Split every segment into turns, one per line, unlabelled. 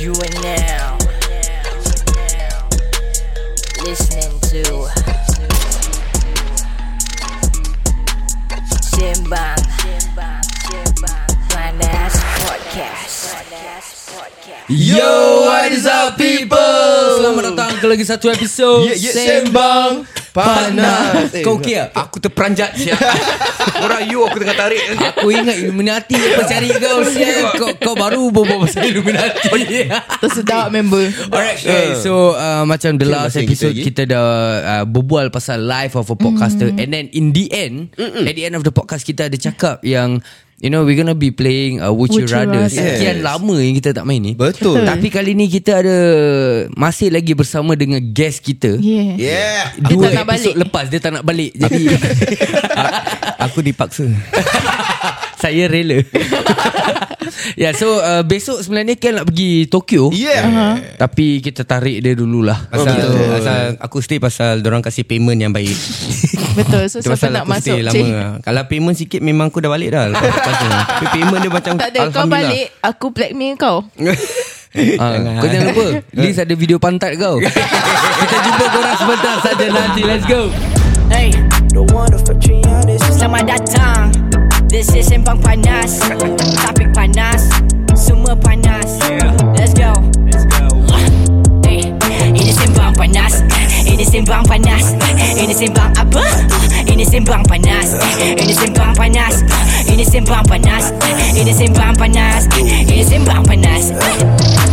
You are now listening to Simbang Panas Podcast.
Yo, what is up people?
Selamat datang ke lagi satu episod
Yeah, yeah, sembang panas. Eh,
Kau okey tak?
Aku terperanjat siap. Orang you aku tengah tarik.
Aku ingat Illuminati Apa cari kau sial. kau, kau baru berbual pasal
Oh,
Illuminati
Tersedap member
Eh.
Alright guys So uh, macam the last
masing
episode
kita lagi.
Kita dah uh, Berbual pasal life of a podcaster
Mm.
And then in the end At the end of the podcast Kita ada cakap yang You know we're gonna be playing uh, Would, You
Would You
Rather
Rather.
Sekian
Yes.
lama yang kita tak main ni
Betul.
Hmm.
Tapi kali ni kita ada Masih lagi bersama dengan guest kita
Yeah, yeah.
Yeah.
Dia
Dua
tak nak
episod
balik.
lepas Dia tak nak balik Jadi
Aku dipaksa.
Saya rela Ya yeah, so uh, Besok sebenarnya Kel nak pergi Tokyo
Yeah. Uh-huh.
Tapi kita tarik dia dululah
Pasal, pasal aku stay pasal orang kasih payment yang baik.
Betul So
Itu
siapa
pasal
nak
aku
masuk
stay lama.
cik.
lah. Kalau payment sikit memang aku dah balik dah. Lepas lepas tu. Tapi payment dia macam
Tak ada kau balik Aku blackmail kau
Ah, Kau jangan lupa Liz ada video pantat kau Kita jumpa korang sebentar saja nanti Let's go
Hey, Selamat datang This is Sembang Panas Topik panas Semua panas Let's go Hey, Ini Sembang Panas Ini Sembang Panas Ini Sembang apa? Ini Sembang Panas Ini Sembang Panas Ini Sembang Panas Ini Sembang Panas Ini Sembang Panas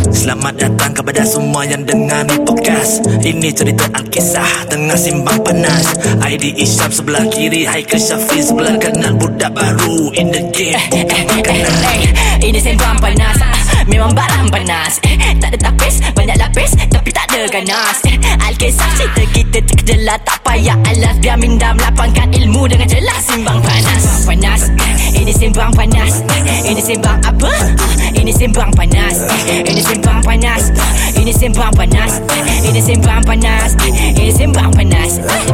Selamat datang kepada semua yang dengar ni podcast Ini cerita Alkisah tengah simbang panas ID Isyam sebelah kiri Haikal Syafiq sebelah kanan Budak baru in the game
Eh, eh, eh, eh, Ini sembang panas Ah, Memang barang panas Eh, Tak ada tapis Banyak lapis Tapi tak ada ganas Eh, Alkisah cerita kita terkejelah Tak payah alas Biar minda melapangkan ilmu Dengan jelas Simbang panas Simbang panas Eh, Ini simbang panas Eh, Ini simbang apa? Ah, Ini simbang panas Eh, Ini simbang panas Ah, Ini simbang panas Eh, Ini simbang panas Eh, Ini simbang panas Eh.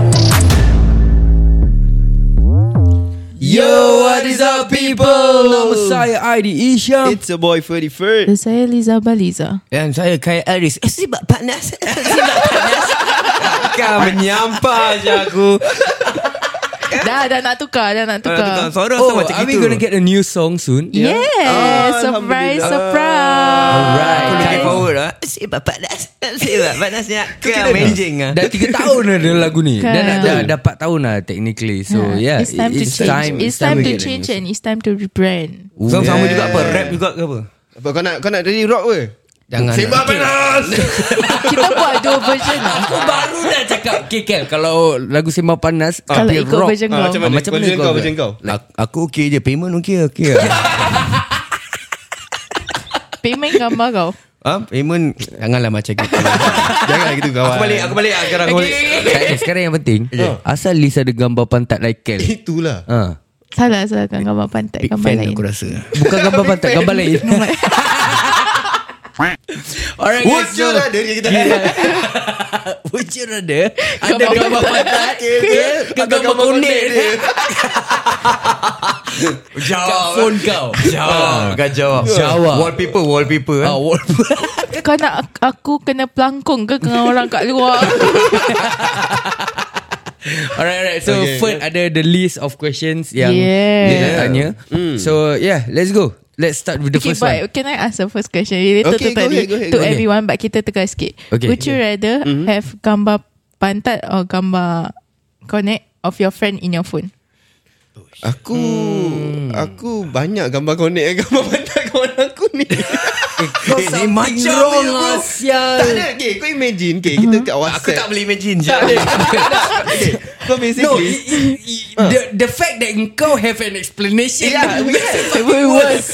Yo what is up people Nama saya ID Isham
It's a boy
Dan
31st.
Eh, saya Liza Baliza
Dan saya Kai Aris. Eh, sibak panas. sibak panas. Kau menyampah je aku.
Dah dah nak tukar Dah nak
Tukar.
tukar
Suara
Oh
oh, macam
are we
gitu.
gonna get a new song soon?
Yeah, Surprise Surprise
Aku looking
Alright
forward
ah.
lah. Sibak panas. Sibak panasnya. Kau menjing lah.
Dah tiga tahun ada lagu ni Dah, dah, dah,
Kan.
dah 4 tahun lah technically So yeah,
It's time to change It's time to change And it's time to rebrand
So, sama
Yeah.
juga apa? Rap juga ke apa?
Apa kau nak kau nak jadi rock ke?
Jangan.
Sembang panas.
Kita buat dua version lah
Aku baru dah cakap Okay Kel Kalau lagu Sembang Panas
Kalau
tapi
ikut
rock. Oh,
version
Ah,
kau
macam
Macam mana
Version
kau
kau
buat?
macam kau?
Aku, aku okey je. Payment okey okey lah.
Payment gambar kau
Ha? Payment Janganlah macam gitu
Janganlah gitu kawan.
Aku balik Aku balik ah. Sekarang aku balik
Tak ada, Sekarang yang penting Asal Liz ada gambar pantat like Kel
Itulah.
ha.
Salah salah kan gambar pantai Gambar
Fan
lain
aku rasa
Bukan gambar pantat Gambar lain Alright
Would
guys
you
so,
rather kita yeah.
Would you rather Ada
Gambar
gambar pantat Ke ke gambar kuning
dia?
Kat phone kau Ah.
Jawab Kau jawab
Jawab.
Wallpaper Wallpaper
Ah,
oh.
wall-
Kau nak aku kena pelangkung ke Dengan orang kat luar
Alright alright So
Okay.
Fern ada the list of questions Yang
Yeah.
dia nak tanya So yeah Let's go Let's start with the
okay,
first one
but can I ask the first question related to
Okay, go
tadi
ahead, go ahead,
to
go ahead.
everyone but kita tukar sikit.
Okay.
Would you rather have gambar pantat or gambar connect of your friend in your phone?
Aku
Hmm.
aku banyak gambar connect dengan gambar pantat kawan aku ni.
Kau something wrong lah
tak
Sial
ada. Okay, kau imagine. Okay, kita
Hmm.
kat WhatsApp.
Aku tak boleh imagine je
Okay, kau basically.
No, it, it, it, the the fact that kau have an explanation
Yeah,
makes
yeah.
it fucking worse.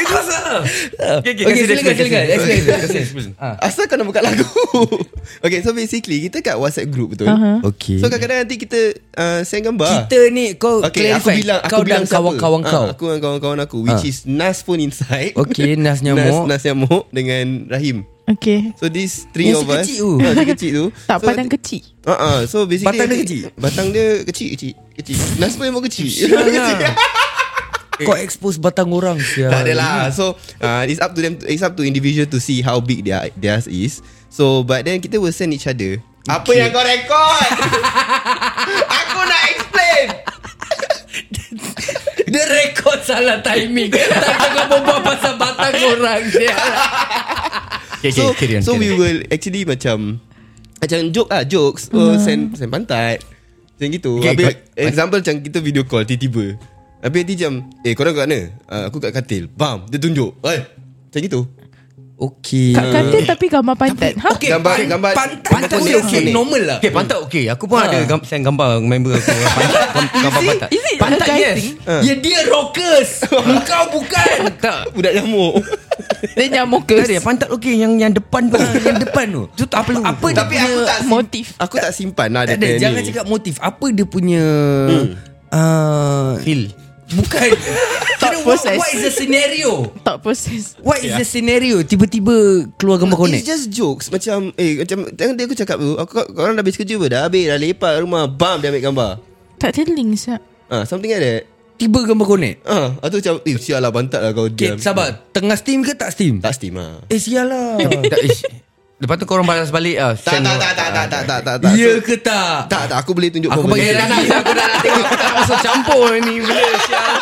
Itu salah Okay, okay,
uh. Okay,
kasi dia,
silakan,
kasi dia,
silakan.
kasi dia.
Explain,
Kasi dia,
explain.
kasi dia.
Asal kau nak buka lagu Okay so basically Kita kat whatsapp group betul
Aha.
Okay.
So kadang-kadang nanti kita uh, Send gambar
Kita ni kau
Okay aku
clarify.
bilang aku
kau
bilang
dan kawan-kawan
siapa.
kau.
Ah, Aku dan kawan-kawan aku Which
Ah.
is Nas pun inside
Okay, Nas nyamuk.
Nas, Nas nyamuk Dengan Rahim
Okay.
So these three
Yang
of us
sekecil tu.
Ah, si kecil tu
Tak
so,
pandang kecil.
uh-uh. So basically
Batang dia
nanti-
kecil?
Batang dia kecil Kecil, kecil. Nas pun memang kecil
Sial lah.
kau expose batang orang sial.
Tak adalah So uh, It's up to them It's up to individual To see how big their theirs is So But then kita will send each other okay. Apa yang kau record Aku nak explain
Dia rekod salah timing. tak tengah berbual pasal batang orang dia.
Okay, okay,
So
Eh, carry on,
So
carry
we
on.
will Actually macam Macam joke lah Jokes Oh send Send pantat Macam gitu
Okay,
okay, Habis
kau-
Example macam Kita video call tiba-tiba Habis nanti macam Eh korang kat mana uh, Aku kat katil Bam Dia tunjuk Oi Macam gitu
Okay.
Kat katil tapi gambar pantat. Ha?
Okay,
Gambar-
pan-
gambar-
pantat
pantat
aku
boleh
okay.
okey.
Normal lah. Okay, pantat okay. Aku pun ada gam- send gambar member aku. Pantat, gam- gambar pantat.
Is it
pantat yes.
enticing?
Ya dia rockers. Engkau bukan.
Tak.
Budak nyamuk
Dia nyamuk ke?
Tak ada pantat okey yang yang depan tu. yang depan tu. Tu tak apa apa dia
Tapi aku
punya-
tak sim-
motif.
Aku tak simpan lah
Tak
dia
ada
punya
jangan
ni.
cakap motif. Apa dia punya uh,
feel.
bukan
Tak
Kira what,
proses.
what is the scenario?
Tak proses.
What is the scenario? Tiba-tiba keluar gambar
It's
connect.
just jokes Macam Eh macam Tengok dia aku cakap tu aku, Korang dah habis kerja pun Dah habis Dah lepak rumah Bam dia ambil gambar
Tak ada link sah.
Ah, Something like that
Tiba gambar connect.
Ah, Lepas tu macam Eh sial lah bantat lah kau
Okay,
diam.
sabar. Tengah steam ke tak steam?
Tak steam lah
Eh sial lah.
Tak, ish. Lepas tu korang balas balik ah.
tak
send-
tak tak tak tak tak tak tak tak
Ya
So,
ke tak?
tak tak aku boleh tunjuk
Aku
kau
bagi lah.
benda.
lagi.
Eh, Aku dah nak tengok tak masuk campur ni bila sial.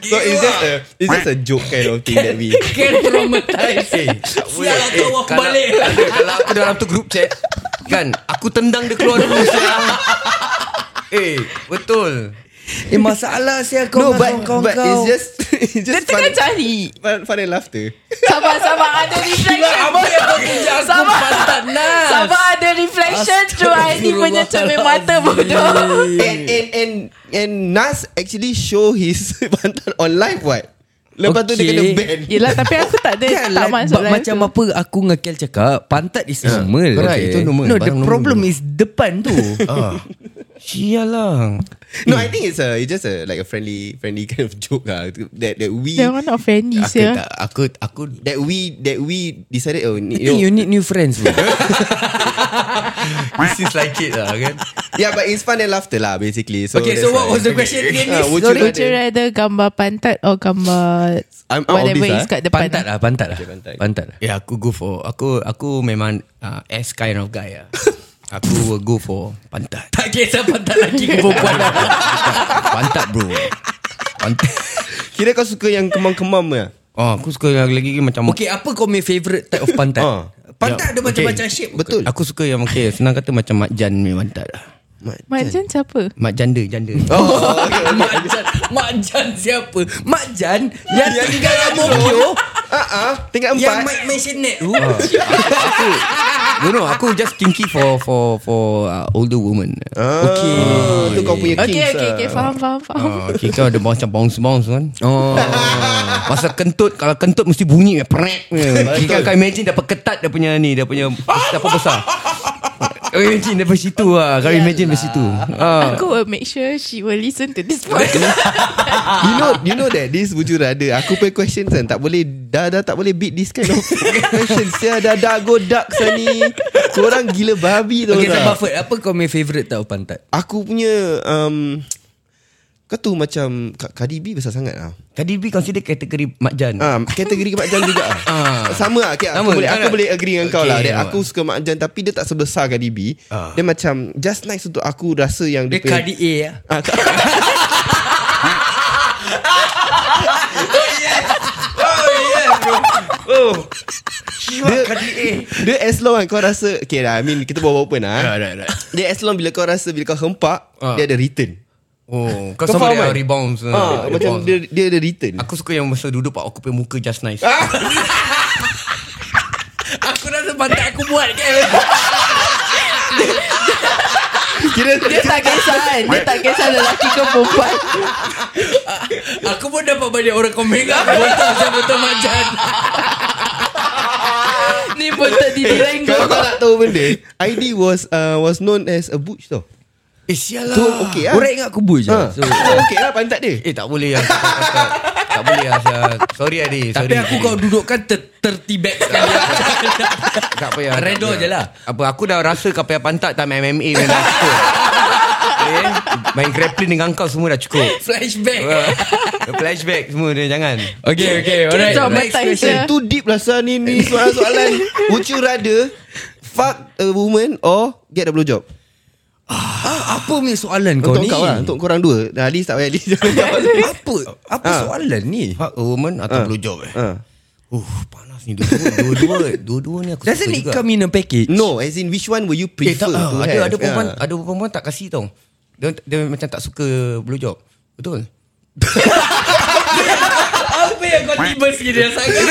so it's just a it's just a joke kind of thing that we
Can
Eh,
traumatize Sial lah kau aku
Kalau-
balik
tak ada, Kalau aku dalam tu group chat Kan Aku tendang dia keluar dulu sial. Eh Betul
Eh masalah sial kau
no
dengan
but
kawan-kawan
but
kau.
it's just it's
Dia
just fun,
tengah cari.
fun, fun and laughter
Sabar-sabar ada
Sial,
reflection.
Apa yang kau tunjuk aku
Sabar.
pantat nas
Sabar ada reflection through Aini punya cermin mata bodoh.
and and and and Nas actually show his pantat on live what lepas tu dia
Okay.
kena ban
Yelah tapi aku tak ada
Kan,
tak
like, but
masuk lah. live
Macam
tu.
apa aku dengan Kel cakap Pantat is normal
Ya, correct, itu normal,
No the
barang normal.
problem is Depan tu
ah. Sial lah
no I think it's a it's just a like a friendly friendly kind of joke lah that that we
Jangan nak offend ni
Aku
ya?
sia.
tak Aku Aku
that we that we decided oh ni-
I think
you
you
know,
need new friends bro.
This is like it lah kan
yeah but it's fun and laughter lah basically so
Okay
that's
so what
why.
was the question again
Ah,
miss?
would
Sorry,
you
would you rather
rather-
gambar pantat or gambar
I'm out of
whatever
this,
is
ah.
kat depan? eh?
Pantat lah Pantat lah
Okay, pantat.
Pantat lah
Ya yeah, aku go for Aku Aku memang uh, S kind of guy lah Aku will go for Pantat
Tak kisah pantat lelaki ke perempuan lah
Pantat bro Pantat
Kira kau suka yang kemam-kemam ya?
Oh aku suka yang lagi macam
Okay apa kau punya favourite type of pantat?
Ah.
Pantat ada
Okay.
macam-macam shape
Betul.
Aku suka yang okay, Senang kata macam Mak Jan punya pantat lah
Macam siapa?
Mak janda Janda
Mak Jan Mak Jan Oh, siapa Mak Jan Yang
Ya,
tinggal Amokyo
Ah ah, tingkat
Yang
empat.
Mike Mansionette tu
Ah, No no Aku just kinky for For for uh, older woman
Ah,
Okay.
tu kau punya kings.
Okay, okay,
ah.
okay. Faham, faham, faham.
Ah, okay, kau ada bounce bounce bounce kan.
Oh
Masa kentut kalau kentut mesti bunyi ya prek. Kita kau imagine dapat ketat dia punya ni, dia punya apa besar. Kau imagine daripada situ lah Kau imagine daripada situ ah.
Aku will make sure she will listen to this podcast.
Ah.
You know, you know that this would you rather. Aku punya question kan tak boleh dah dah tak boleh beat this kan. kind of question. Saya ya, dah dah go dark sani. Korang gila babi tu.
Okay
lah.
orang.
sabar Ferd Apa kau punya favourite type of pantat
Aku punya um, kau tu macam Ka- Cardi B besar sangat ah.
Kadi B consider kategori Mak Jan
Ah, kategori Mak Jan juga ah. Sama lah. Okay, aku
Sama,
boleh
kan
aku
tak?
boleh agree dengan kau
Okay,
lah. That
nampak.
aku suka Mak Jan tapi dia tak sebesar Cardi B. Dia macam just nice untuk aku rasa yang
Dia
dia, punya-
Cardi A lah
Ah, Ka- Dia- Dia as long kan Kau rasa Okay lah I mean kita bawa open lah
Right, right, right.
Dia as long bila kau rasa Bila kau hempak
Ah.
Dia ada return
Oh, kau,
Kau
sama
faham
dia
kan?
rebounds
ah, Macam dia, dia ada return
Aku suka yang masa duduk Pak Aku punya muka just nice
Aku rasa pantat aku buat kan
Kira
Dia tak kisah kan? Dia tak kisah lelaki ke perempuan.
Aku pun dapat banyak orang komen kan Betul saya betul Mak Jan
Ni bontot di dirain
Kalau kau tak tahu benda ID was uh, was known as a butch tau
Eh sial lah
So okay lah
Orang ingat aku buat je
Ya,
ha.
So
So okay lah pantat dia
Eh tak boleh lah Tak, tak, tak. tak boleh lah sial. Sorry Adi
Tapi aku kau dudukkan ter- Tertibet sekali
Tak payah
Redo
Tak payah.
je lah.
Apa aku dah rasa kau payah pantat Time MMA memang aku Eh eh. Main grappling dengan kau semua dah cukup.
Flashback
Wah, Flashback semua dia jangan.
Okay okay alright
Kita jawab
Next
back
question.
saja.
Too deep lah San ni, ni soalan-soalan Would you rather Fuck a woman Or get a blowjob
Apa punya soalan kau
Untuk
ni
kau lah Untuk korang dua Dah Halis tak payah Halis Jangan jawab
Apa Apa
Ah.
soalan ni
Fuck a woman atau
Ah.
blue job eh.
Ah.
Uh, panas ni dua-dua. Dua-dua, dua-dua ni aku
Doesn't
suka
it
juga.
come in a package
No as in Which one will you
Eh,
prefer
tak,
to
ah, ada,
have?
ada perempuan
Ah.
ada perempuan tak kasih tau. Dia, dia macam tak suka blue job. Betul?
Apa yang kau tiba sikit Dia sangat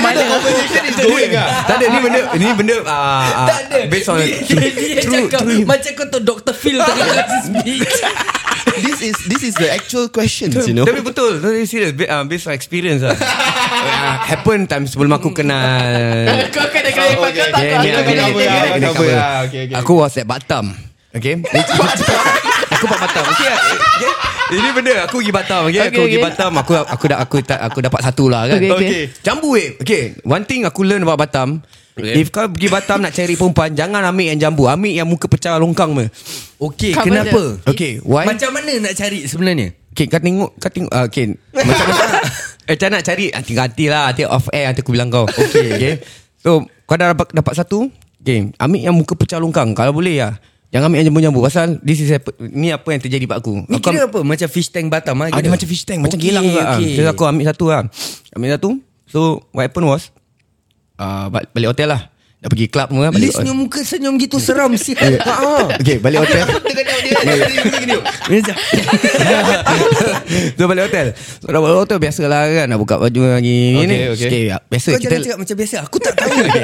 Mana conversation is going ah?
tak ada ni benda ni benda uh,
Tak ada
based on
Dia, dia cakap Macam kau tu Dr. Phil Tengah kasi speech
This is this is the actual questions you know.
Tapi betul Tapi serious ba- ah, Based on experience lah Ah, Happen time sebelum aku kenal
Kau kena kena
Oh,
pakai
okay,
tak
okay,
kau
ni
kena
aku
kena
cover,
kena.
aku
cover.
cover.
Ah, okay, okay.
Aku was at Batam Okay Aku pak Batam okay, ah, okay. Ini benda Aku pergi Batam okay?
Okay,
Aku pergi
okay.
Batam Aku aku dah aku, tak, aku dapat satu lah kan
Okay, okay. Okay.
Jambu eh Okay One thing aku learn about Batam
Okay.
If kau pergi Batam nak cari perempuan Jangan ambil yang jambu Ambil yang muka pecah longkang me.
Okay
Cover
kenapa
the-
Okay why
Macam mana nak cari sebenarnya
Okay kau tengok Kau tengok uh, Okay Macam mana Eh macam nak cari Hati-hati lah Nanti off air Nanti aku bilang kau Okay, okay. So kau dah dapat, dapat satu Okay Ambil yang muka pecah longkang Kalau boleh ya Jangan ambil yang jambu-jambu Pasal this is happen- Ni apa yang terjadi pada aku
Ni
Aku
kira apa Macam fish tank Batam ah,
ada
kira?
macam fish tank Macam
Okay,
gilang juga okay.
okay.
So aku ambil satu lah Ambil satu So what happened was uh, Balik hotel lah Dah pergi club semua balik
Lis punya muka senyum gitu Seram sih Haa
Okay balik hotel So balik hotel So dah balik hotel Biasalah kan Nak buka baju lagi
Okay,
ni. ya.
okay.
Biasa
Kau
kita
jangan cakap macam biasa Aku tak tahu Kita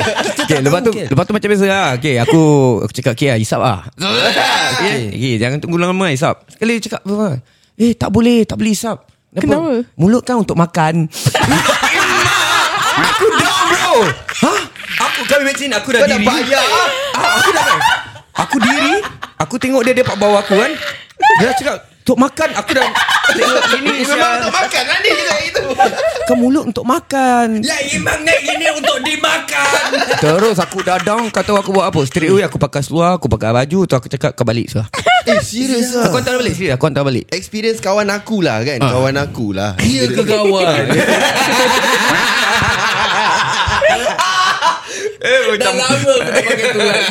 Okay,
tak
lepas
tahu,
tu
Kel.
lepas tu macam biasa lah. Okay, aku aku cakap okay lah, hisap lah. okay. okay, jangan tunggu lama lah hisap. Sekali dia cakap apa? Eh, tak boleh, tak boleh hisap.
Kenapa?
Mulut kan untuk makan. aku dah bro. Ha? Aku kau imagine aku dah
Kau dah
diri.
bayar ah.
Ah, aku dah bayar. Aku diri, aku tengok dia dekat bawah aku kan. Dia cakap, "Untuk makan." Aku dah tengok ini
Memang untuk makan lah ni cakap itu.
ke mulut untuk makan.
Lah imam naik ini untuk dimakan
Terus aku dah down Kau tahu aku buat apa Straight away aku pakai seluar Aku pakai baju Tu aku cakap kau balik seluar
Eh serius
Aku
ah.
hantar balik Serius aku hantar balik
Experience kawan aku lah kan.
Ah.
Kawan aku lah.
Dia ke kawan Dah lama aku tak pakai tu kan.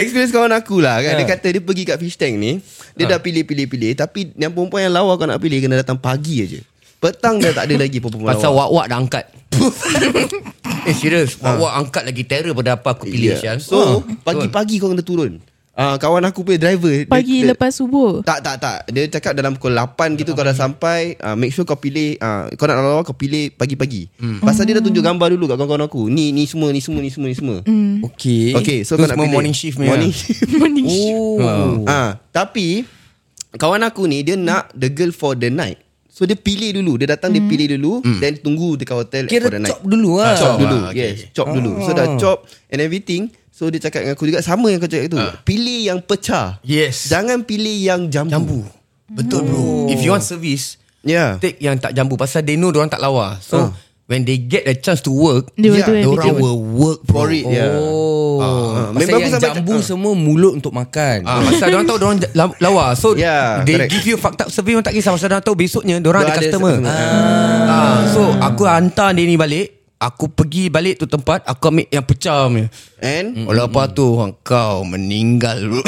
Experience kawan aku lah kan. Dia kata dia pergi kat fish tank ni. Dia dah pilih-pilih-pilih. Tapi yang perempuan yang lawa kau nak pilih kena datang pagi aja. Petang dah tak ada lagi perempuan
Pasal
lawa.
wak-wak dah angkat Eh serius Wak-wak angkat lagi terror Pada apa aku pilih Ha. yeah.
Ya. So pagi-pagi kau kena turun. Ah, kawan aku punya driver dia-
Pagi
dia-
lepas subuh.
Tak tak tak Dia cakap dalam pukul 8 gitu Kau dah sampai uh, Make sure kau pilih uh, Kau nak lawa kau pilih pagi-pagi hmm. Pasal dia dah tunjuk gambar dulu Kat kawan-kawan aku Ni ni semua ni semua ni semua ni semua hmm.
Okay
Okay so
Tu
kau nak
semua
pilih
morning shift punya.
Morning shift
Morning shift.
Oh
Ah, Tapi Kawan aku ni Dia nak the girl for the night So dia pilih dulu Dia datang dia pilih dulu
Hmm.
Then tunggu dekat hotel
Kira
for the night
chop dulu lah
Ah, Chop dulu okay. Yes chop dulu So dah chop And everything So dia cakap dengan aku juga Sama yang kau cakap tu Pilih yang pecah
Yes.
Jangan pilih yang jambu
Jambu Betul bro If you want service
Yeah
Take yang tak jambu Pasal they know Diorang tak lawa So
Ah.
When they get a chance to work
They will
Yeah,
do
Diorang
everything.
Ya, will work bro.
For it yeah.
Oh
Ah, memang
Pasal
aku
yang
sampai-
jambu
ah.
semua Mulut untuk makan
Ah, pasal orang tahu orang lawa. So
Yeah,
they
correct.
give you fucked up survey orang tak kisah pasal orang tahu besoknya orang ada
Dia ada
customer.
customer.
Ah. ah. so aku hantar dia ni balik. Aku pergi balik tu tempat Aku ambil yang pecah punya
And
Oleh apa tu orang Kau meninggal bro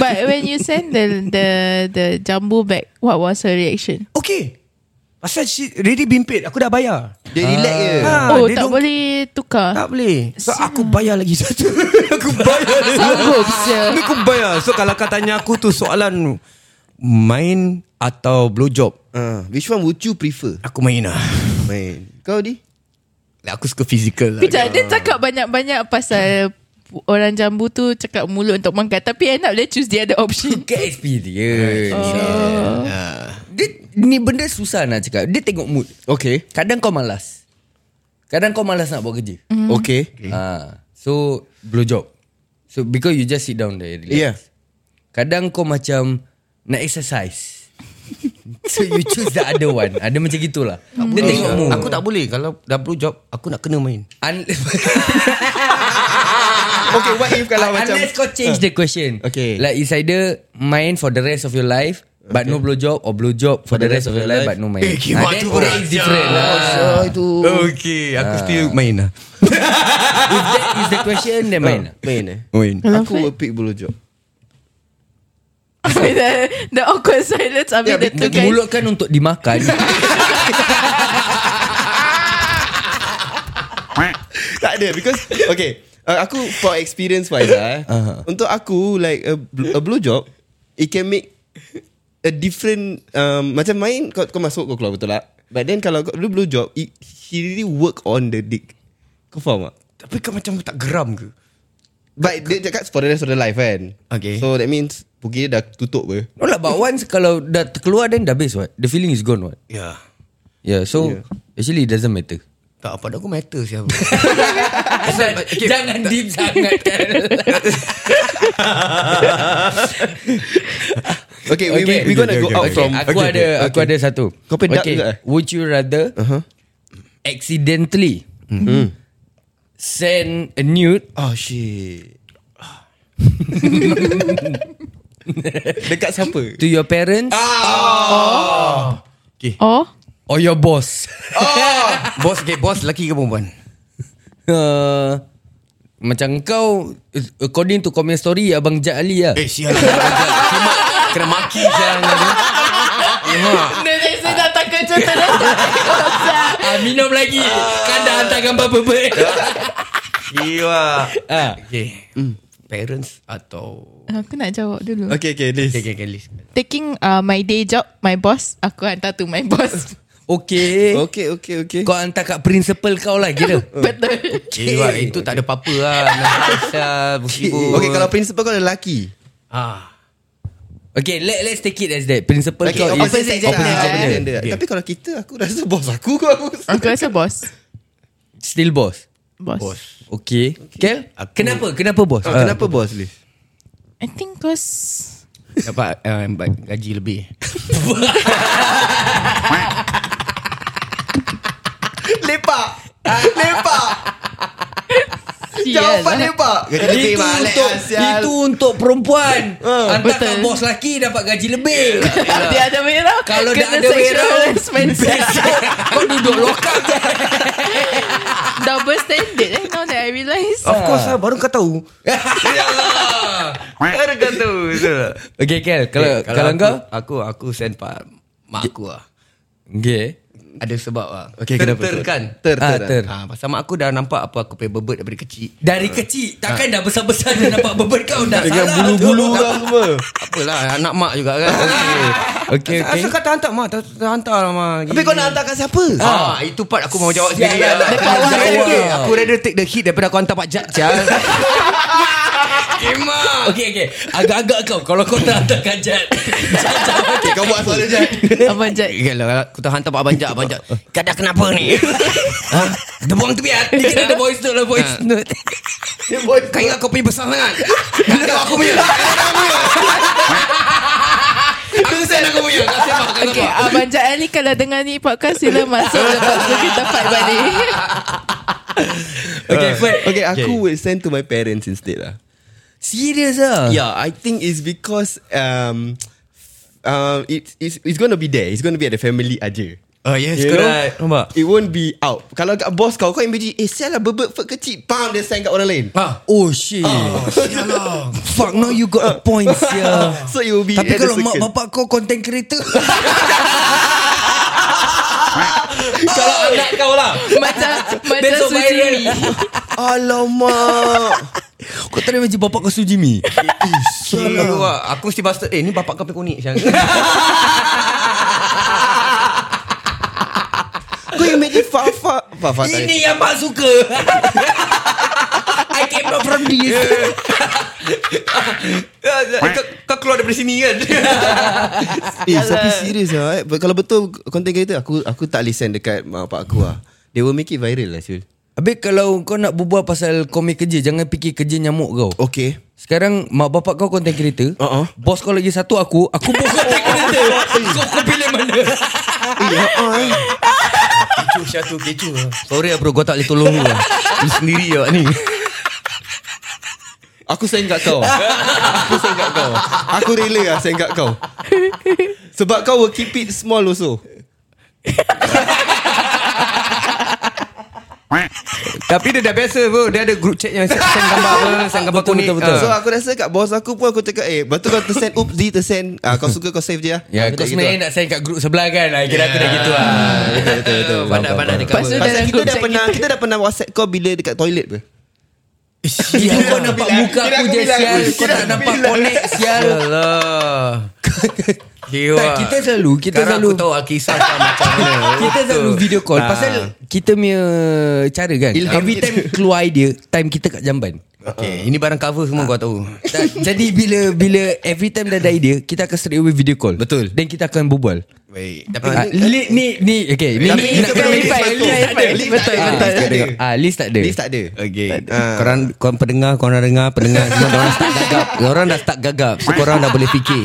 But when you send the the the jumbo back, what was her reaction?
Okay Pasal she already been paid Aku dah bayar
Dia relax je
Ah,
oh,
they
tak
don't-
boleh tukar.
Tak boleh So aku bayar lagi satu Aku bayar lagi
Sanggup sia.
Ni aku bayar So kalau kau tanya aku tu soalan Main atau blowjob
uh, Which one would you prefer
Aku main lah
Man Kau di
Like, Aku suka fizikal lah
Kejap, dia cakap banyak-banyak pasal orang jambu tu cakap mulut untuk makan. Tapi end up dia choose the other option.
Ke experience oh. Dia Ni benda susah nak cakap Dia tengok mood
Okay
Kadang kau malas Kadang kau malas nak buat kerja mm.
Okay
Ah, So Blow job So because you just sit down there relax.
Yeah.
Kadang kau macam Nak exercise So you choose the other one Ada macam gitulah Dia tengok mood
Aku tak boleh Kalau dah blue job Aku nak kena main
Un-
Okay what if kalau macam Ah.
Unless kau change the question
Okay.
Like it's either Mine for the rest of your life But no blowjob Or blowjob For the rest of your life But no main Ah,
Eh, kimak
then
tu
that
orang
is different lah
Oh,
itu. Okay, aku still main lah.
If that is the question Then main lah
Main eh
Main.
Kalau
Aku will pick blowjob
the, the awkward silence Habis
Yeah,
the two guys
Mulut kan untuk dimakan
Tak ada Because Okay uh, Aku for experience wise lah eh, uh-huh. Untuk aku Like a, bl- a blowjob It can make A different um, Macam main kau, kau masuk kau keluar betul tak But then kalau kau do blowjob it, He really work on the dick Kau faham tak
Tapi kau macam tak geram ke?
But dia cakap For the rest of the life kan
Okay.
So that means Pukul dia dah tutup ke
No lah but once Kalau dah keluar Then dah habis what The feeling is gone what
Ya.
Yeah so Actually it doesn't matter
Tak apa, aku matter siapa.
Jangan deep sangat kan?
Okay, we, we, we gonna go out from
Aku ada Aku ada satu
Kau pedak juga eh? Uh-huh.
Would you rather Accidentally
Mm-hmm.
Send a nude
Oh shit Dekat siapa?
To your parents
Ah!
Oh
Or your boss
Bos, okay, bos lelaki ke perempuan?
uh, Macam kau According to comment story Abang Jad Ali lah
Eh, sial. Kena, kena maki sial.
Dia saya dah tak kerja Terus
ah, Minum lagi Kan dah hantar gambar apa-apa
Siwa.
ah.
Okay. Hmm. Parents atau...
Aku nak jawab dulu
Okay, okay, this
Okay, okay, list.
Taking uh, my day job My boss Aku hantar to my boss
Okay
Okay, okay, okay
Kau hantar kat principal kau lah Kira
Betul
Siwa, itu tak ada apa-apa lah.
lah,
Sial, musibah.
Okay, kalau prinsipal kau lelaki
Ah.
Okay let, let's take it as that Principal
Okay,
kau
opposite, lah. Ah,
is
opposite,
opposite gender.
gender. Tapi kalau kita, aku rasa bos aku kau aku.
Aku rasa boss
Still boss
Boss,
Bos.
Okay, okay. Kel,
Aku-
Kenapa? Kenapa bos?
Oh,
Ah.
kenapa bos ni?
I think cause
Dapat uh, gaji lebih.
Lepak. Lepak. Jawapan lepak. Gaji
Ah. Itu untuk Itu untuk perempuan Hantar kat
Betul.
bos laki Dapat gaji lebih
Dia ada merah
Kalau dah
kena
ada
sexual
merah,
harassment.
Besok Kau duduk lokal je
Double standard eh Now that I realise
Of course lah, baru kau tahu. Baru kau tahu. betul tak?
Okay Kel Kalau,
Eh,
kalau,
aku,
kau
Aku aku send pak mak aku lah.
Okay
Ada sebab lah.
Okay,
Ter-
kenapa?
ter kan?
Ter,
Ah,
lah. ter.
ter.
ter.
Ha, pasal mak aku dah nampak apa aku pay bebet daripada kecil.
Dari kecil Takkan dah besar-besar Dah nampak beban kau Dah salah
Dengan bulu-bulu kau semua.
Apalah, anak mak juga kan. Okay.
Okay, okay.
Asal kata hantar mak, tak tak hantar lah mak.
Tapi kau nak hantar kat siapa?
Ah, itu part aku mau jawab
Sial
sendiri.
lah,
lah.
nak
Aku
jawab.
rather- Aku rather take the hit daripada kau hantar Pak Jad, Sial. Emak.
Okay okay Agak-agak kau Kalau kau tak hantar kajat
Okay, kau buat soalan je.
Abang Jad
Okay lah, aku tak hantar Pak Banjak, Banjak. Kau dah kenapa ni? ha? Dia buang tu biar.
Dia kena ada voice note lah Voice
Ha.
Ah.
note
Kau ingat kau punya besar sangat Kau ingat aku punya Aku send aku punya Kau sembah kau
Okay
sembah
Abang Jad Ali Kalau dengar ni podcast Sila masuk Lepas tu kita fight balik
Okay Fred
Ah. Okay, aku will send to my parents instead lah.
Serious lah
Yeah, I think it's because um, um, it's it's it's gonna be there. It's gonna be at the family aja.
Oh yes
You
correct
know?
Nampak
It won't be out. Kalau kat boss kau, kau imagine, eh sial lah bebek fat kecil, pam dia sign kat orang lain.
Ha
Oh shit Fuck now you got a point yeah.
So it will be
Tapi
at the
kalau mak
circle.
bapak kau content creator Kalau anak kau lah
Macam Macam
Besok
Suji
viral.
Mi
Alamak
Kau tak ada macam bapak kau suji mi
Aku mesti bastard Eh ni bapak kau punya kunik Syang
Kau imagine Fafa Fafa tak
Ini yang mak suka I came up from this
Kau- Kau keluar daripada sini kan
Eh tapi serius lah eh. But Kalau betul content creator Aku aku tak boleh send dekat mak bapak aku lah They will make it viral lah Syul
Habis kalau kau nak berbual pasal komik kerja Jangan fikir kerja nyamuk kau
Okay
Sekarang mak bapak kau content creator
Uh-uh.
Bos kau lagi satu aku Aku pun content creator Kau kau pilih mana
Eh, ya, ah,
Kecoh Syah tu kecoh Sorry lah bro Kau tak boleh tolong lu lah. Lu sendiri lah ni
Aku sayang kat kau Aku sayang kat kau Aku rela lah sayang kat kau Sebab kau will keep it small also
Tapi dia dah biasa bro Dia ada group chat yang Send gambar apa Send gambar
Betul,
kuning
betul, betul.
Ah.
So aku rasa kat bos aku pun Aku cakap eh Lepas tu kau tersend Oops D tersend ah, Kau suka kau save je lah
Ya,
Aku
kau
tak gitu
sebenarnya
lah.
nak sign kat grup sebelah kan. Ah, Kira aku dah gitu lah.
Betul, betul, betul. Faham,
Pandai-pandai dekat.
Lepas tu
Pasal
dalam
kita
group
dah
chat
pernah Kita dah pernah whatsapp kau Bila dekat toilet pun
Itu kau nampak muka aku
Kira aku
je
bilang.
sial.
Kira
Kau tak Ya
aku
nampak
bilang.
connect sial.
Alah Kira
Tak, kita selalu Kita
lah. Sekarang
selalu
aku tahu Alkisah kau macam mana
Kita selalu video call
Ah.
Pasal kita punya Cara kan
Ilham
Every
kita.
time keluar idea Time kita kat jamban
Okay Ini barang cover semua kau tahu
Tak, Jadi bila Bila every time dah ada idea Kita akan straight away video call
Betul.
Then kita akan berbual
Baik
Ah, Ni ni ni Okay ni,
Tapi
ni,
kita kena verify. List tak ada.
Betul
List
betul
tak ada.
Ah, List tak ada
Lift tak ada
Okay uh. Korang Korang pendengar Korang dengar Pendengar Semua orang start gagap Orang dah start gagap So korang dah boleh fikir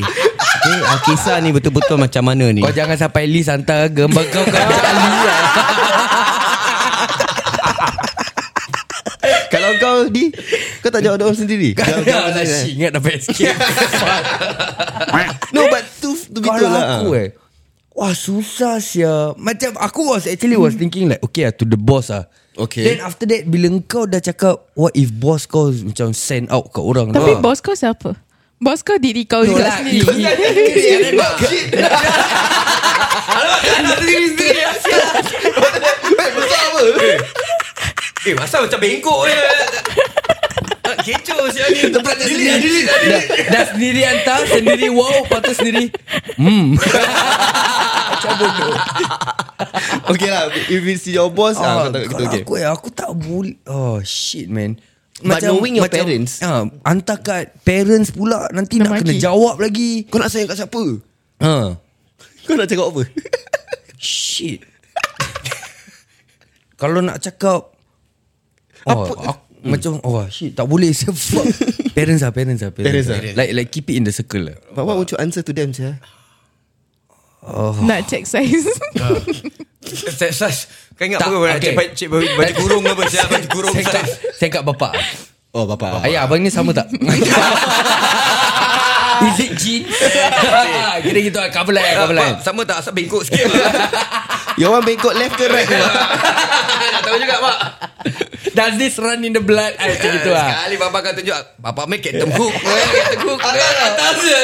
Okay Alkisah ni betul-betul macam mana ni
Kau jangan sampai list hantar gambar kau kau kali lah.
Kalau kau di Kau tak jawab doa sendiri Jawab- jawab
Kau
sendiri.
ingat dah best
No but tu tu betul
Kalau
lah
aku eh Wah susah sia Macam aku was actually was thinking like Okay lah to the boss lah
Okay.
Then after that Bila kau dah cakap What if boss kau Macam send out kat orang Ah.
Tapi bos kau siapa? Bos kau diri kau
No
juga
lah
sendiri
Eh masa macam bengkok je Ah, Kecoh siapa ni Delete delete
dah, dah sendiri hantar Sendiri wow Lepas tu sendiri Hmm Macam bodoh
Okay lah If it's your boss ah, Kau tak
kalau
kita okay
aku, eh, aku tak boleh Oh shit man
But knowing your parents.
ha, Hantar kat parents pula Nanti
Nak
nak kena
maki.
jawab lagi
Kau nak sayang kat siapa Ah.
ha.
Kau nak cakap apa
Shit Kalau nak cakap oh, Apa aku, Macam Oh shit Tak boleh Saya fuck Parents lah Parents lah
Parents
Parents, lah.
lah.
Like, like keep it in the circle lah
But what would you answer to them sah?
Nak check size
Sas, sas. Kau ingat
Tak,
apa
okay.
okay. cek, cek baju, baju kurung apa Siap baju kurung
Saya angkat,
Sas.
saya angkat bapak
Oh bapa
Ayah abang ni sama tak? Is it jeans? Kira gitu lah Cover line
Ah,
Cover line
Pak, sama tak asap bengkok sikit Pak?
Your one bengkok left ke right ke
Tak tahu juga pak
Does this run in the blood? Ah, macam gitu lah.
Sekali bapa kau tunjuk Bapa main Captain Hook Eh, Captain Hook Eh, Atas je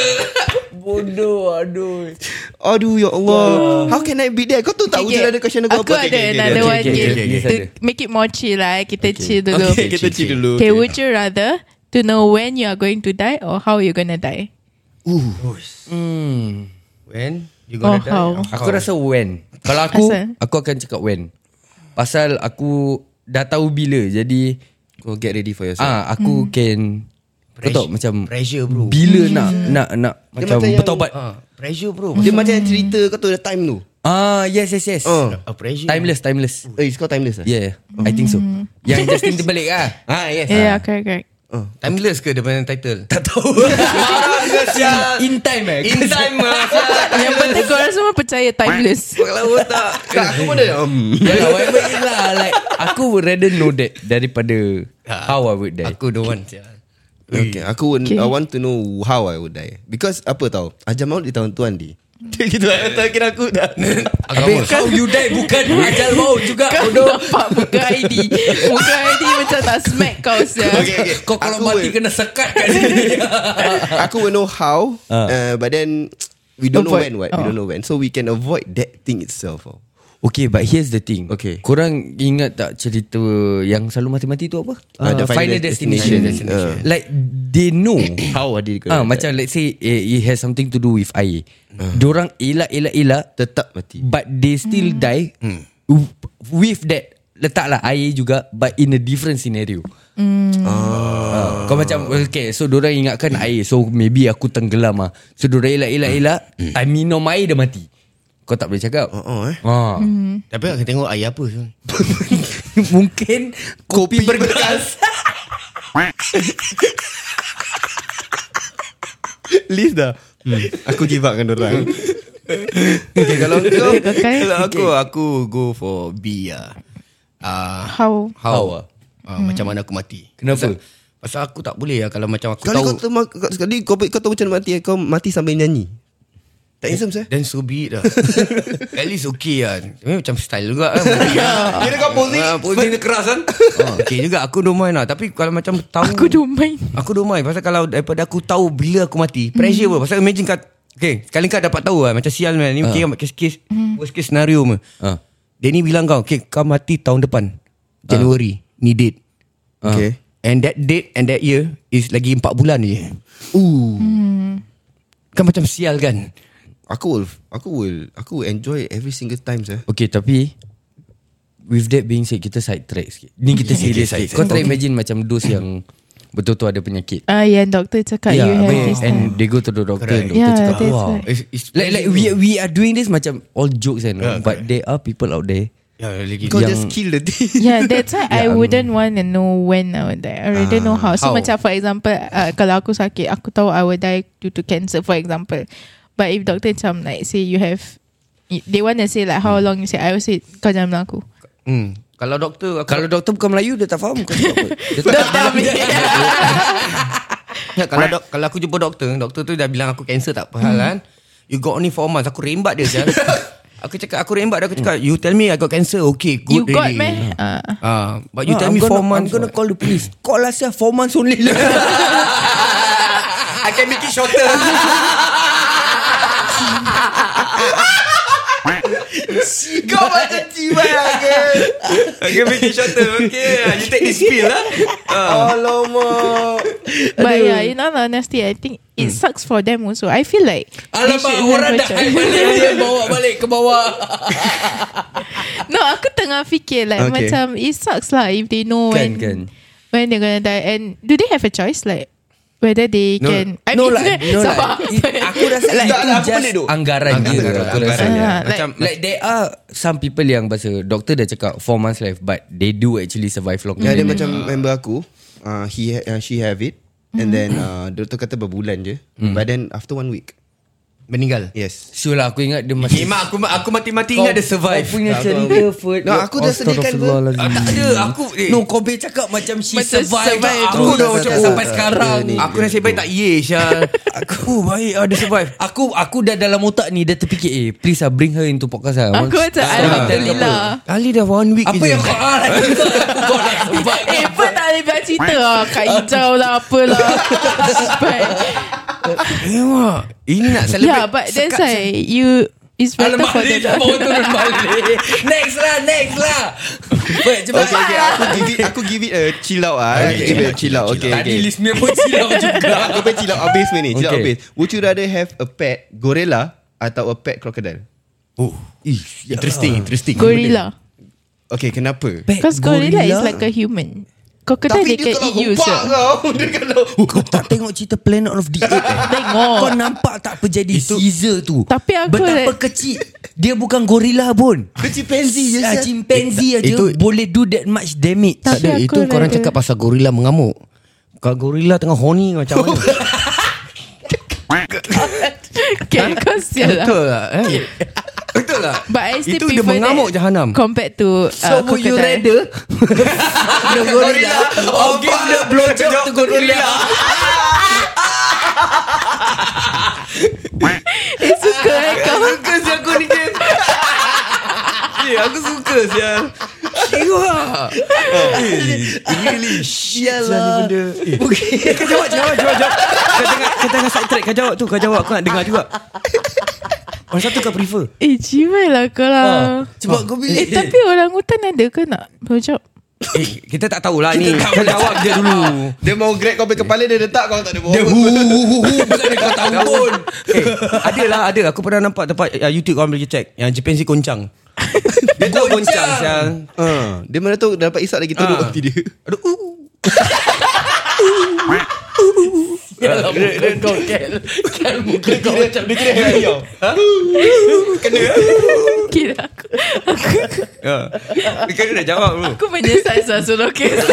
Bodoh, aduh.
Aduh ya Allah How can I be there Kau tu tak
Okay,
wujud
okay.
ada question aku
Aku
apa
ada
okay, okay,
another one okay,
okay, okay,
To
okay.
make it more chill lah eh. Kita chill dulu
Okay kita chill dulu
Okay would you rather To know when you are going to die Or how you gonna die
Hmm.
When you
Or Oh, how
Aku rasa
eh?
when. Kalau aku,
Asal?
aku akan cakap when. Pasal aku dah tahu bila. Jadi,
Go get ready for yourself
ah aku can kau tahu macam
Pressure bro
bila nak nak nak macam
macam yang-
bertaubat.
Ah, Pressure bro
Dia macam cerita Kau tu ada time tu
Ah, yes yes yes.
Oh
Ah, Pressure
Timeless, timeless.
Eh kau timeless lah
Yeah, yeah. I think so. Yang Justin Timberlake ah.
Ah yes
Yeah correct correct
Oh.
Timeless ke dia punya title
Tak tahu. In time eh.
In time lah
Yang penting korang semua percaya timeless
Kalau tak
Tak aku pun ada um,
Yalah, whatever it lah. Like, aku would rather know that daripada
Ah.
how I would die.
Aku don't want sial.
Okay aku would,
Okay.
I want to know How I would die Because apa tau Ajar maut di tahun tuan di Dia gitu lah Tak kira aku dah
Agama
kan?
How you die bukan ajal maut juga. Bodoh.
Nampak muka ID Muka ID macam tak smack kau siya
Okay, okay.
Kau kalau
Aku
mati
will-
kena sekat kat sini.
Aku will know how uh. Uh, But then We
Avoid.
don't know when what? We
Oh.
don't know when So we can avoid that thing itself oh.
Okay but here's the thing
Okay.
Korang ingat tak cerita Yang selalu mati-mati tu apa? Ah,
Ah, The Final Destination. Ah.
Uh. Like they know
How are they
Ah,
gonna die?
Macam let's say eh, It has something to do with air Diorang elak elak elak
Ah. Tetap mati Hmm.
But they still die w- With that Letaklah air juga But in a different scenario Ah, Kau macam Okay so diorang ingatkan air So maybe aku tenggelam lah So diorang elak elak elak Time minum air dia mati Kau tak boleh cakap
Hmm. Oh eh
Ah.
Tapi aku tengok ayah apa sial.
Mungkin Kopi, bergas
Leave dah hmm. Aku give up kan dorang Okay kalau kau
Okay.
Kalau aku Aku go for B lah Ah,
How
How,
How
ah? Ah, Macam mana aku mati
Kenapa?
Pasal, Pasal aku tak boleh lah Kalau macam aku
Sekali
tahu
kau, tahu, kau, sekali kau, kau tahu macam mana mati eh, Kau mati sambil nyanyi Tak eh? handsome saya
Then so be it lah At least okay lah Tapi macam style juga kan Kira kau posing Posing dia keras kan Ah, Okay juga Aku don't mind lah Tapi kalau macam tahu
Aku don't mind
Aku don't mind Pasal kalau daripada aku tahu Bila aku mati Pressure
Hmm.
pun Pasal imagine kat Okay Sekali kau dapat tahu lah Macam sial man Ni kira kes-kes
Hmm.
Worst case scenario me.
Ah.
Dia ni bilang kau Okay kau mati tahun depan Januari
Ah.
Ni date
Okay
And that date and that year Is lagi 4 bulan je Ooh.
Hmm.
Kan macam sial kan
Aku will Aku will Aku will enjoy every single time eh. saya
Okay tapi With that being said Kita side track sikit Ni kita serius sikit Kau try imagine macam Dos yang Betul-betul ada penyakit
Ah, yang doktor cakap You have
abang-
this
And they go to the doctor and Doctor
Yeah,
cakap
that's
Wow
right.
It's, it's
Like like we we are doing this Macam all jokes and all,
Yeah,
But
correct.
there are people out there
yeah, lagi
Kau
Yang-
just kill the thing
Yeah, that's why
Yeah,
I wouldn't want to know when I would die. I already know how. So
how?
macam for example, uh, kalau aku sakit, aku tahu I will die due to cancer for example. But if doctor macam like say you have, they want to say like how long you say, I will say kau jangan bilang aku.
Hmm. Kalau doktor aku,
Kalau doktor bukan Melayu Dia tak faham Kau cakap apa Dia tak faham
ya, kalau dok, kalau aku jumpa doktor, doktor tu dah bilang aku cancer tak apa
Hmm.
hal kan. You got only four months. Aku rembat dia kan. aku cakap aku rembat dia aku cakap you tell me I got cancer. Okay,
you
good
got
already.
meh? Ah.
Ah, but you
Ah,
tell
I'm
me
gonna-
four months.
I'm gonna call the police Call lah sia Four months only lah
I can make it shorter.
Kau macam cibat
I can make it shorter. Okay, you take this pill lah.
Alamak
But yeah, in all honesty, I think it sucks for them also. I feel like they
Alamak
should have
orang dah
macam-
hype balik Dia bawa balik ke bawah
No, aku tengah fikir like
Okay.
okay. macam it sucks lah if they know
Kan,
when
kan.
when they're gonna die. And do they have a choice like whether they
No.
can? I
No
mean,
lah no
sabar.
lah It- Aku rasa
Tak
itu
lah, apa
just
benda tu?
Anggaran je Aku rasa
anggaran.
yeah.
Ah, like-
Macam
Like there are Some people yang Bahasa doktor dah cakap 4 months life But they do actually survive long
Ya,
yeah,
ada macam member aku uh, he ha- uh, She have it And then uh, Doktor kata berbulan je But then after one week
meninggal.
Yes
Sure lah aku ingat dia masih
Okay, mak aku aku mati-mati ingat dia survive.
Kau punya cerita Ferd
No, aku dah sediakan pun.
Ah, tak ada aku eh,
No kau boleh cakap Macam she
Macam
survive
survive.
Aku
Oh,
dah macam
tak, tak,
oh,
tak,
Sampai
tak,
sekarang
Aku nasib baik tak ye Syah Aku baik ada survive
Aku aku dah dalam otak ni Dah terfikir Eh please lah Bring her into podcast lah
Aku
Once-
macam
Ah,
Alhamdulillah
Ali dah one week
Apa yang kau ah, lagi kau- Kau dah survive
Eh pun tak boleh bilang cerita lah Kak Hijau lah Apalah But
Eh mak Ini nak celebrate
Yeah but that's why You It's better
Alamak
for
dia
them
dah bawa turun balik Next lah Next lah Baik cepat
Okay, okay. Aku give it Aku give it a chill out ah. Okay, give it a chill out Okay,
Tadi
okay.
listener pun silap juga
Aku pengen chill out habis ni Chill out
Okay.
habis Would you rather have a pet gorilla Atau a pet crocodile
oh.
ya.
Interesting Interesting
Gorilla
Okay kenapa
Eh,
Because gorilla is like a human Crocodile they can eat you
humpak
so.
kau Dia kalau
Kau tak tengok cerita Planet of the Apes eh?
Tengok.
Kau nampak tak apa jadi
Itu-
Caesar tu
Tapi aku
Betapa
eh.
like-
kecil Dia bukan gorila pun
Dia chimpanzee je
Ah,
sial.
Chimpanzee aja
Eh, itu-
Boleh do that much damage
Tak ada lah
Tapi aku
Itu korang
rasa-
cakap pasal gorila mengamuk Kalau gorila tengah horny macam mana
Okay kau sial lah
Betul lah eh? Betul lah
But I still
Itu dia
prefer
mengamuk
that
jahanam.
Compared to uh,
So would you
crocodile.
rather The gorilla
Oh,
Or give the blowjob to gorilla
Eh suka eh kau
Suka si aku ni game Eh aku suka sial Kiwa Really Sial lah benda Okay Kau jawab jawab jawab jawab Kau tengah, kau tengah side track Kau jawab tu Kau jawab aku nak dengar juga Orang satu kau prefer
Eh jimat lah kau
Ah,
lah
Cepat kau pilih
Eh tapi orang hutan ada ke nak Blowjob
Eh kita tak tahulah ni Kau jawab je dulu
Dia mau grab kau punya kepala Dia letak kau tak ada
Dia hu
bohong
hu hu hu Bukan dia kau tahu pun
Eh ada lah ada Aku pernah nampak tempat uh, YouTube korang boleh check Yang Jepun si koncang Dia tahu koncang sial
Ah, Dia mana tu dapat isap lagi teruk
Ah.
hati dia
Aduh uh.
Yalah muka kau Kel Kel muka kau macam
Dia kira happy tau
Kira aku
Ya. Kau dah jawab dulu
Aku lah, menyesal Saya suruh kes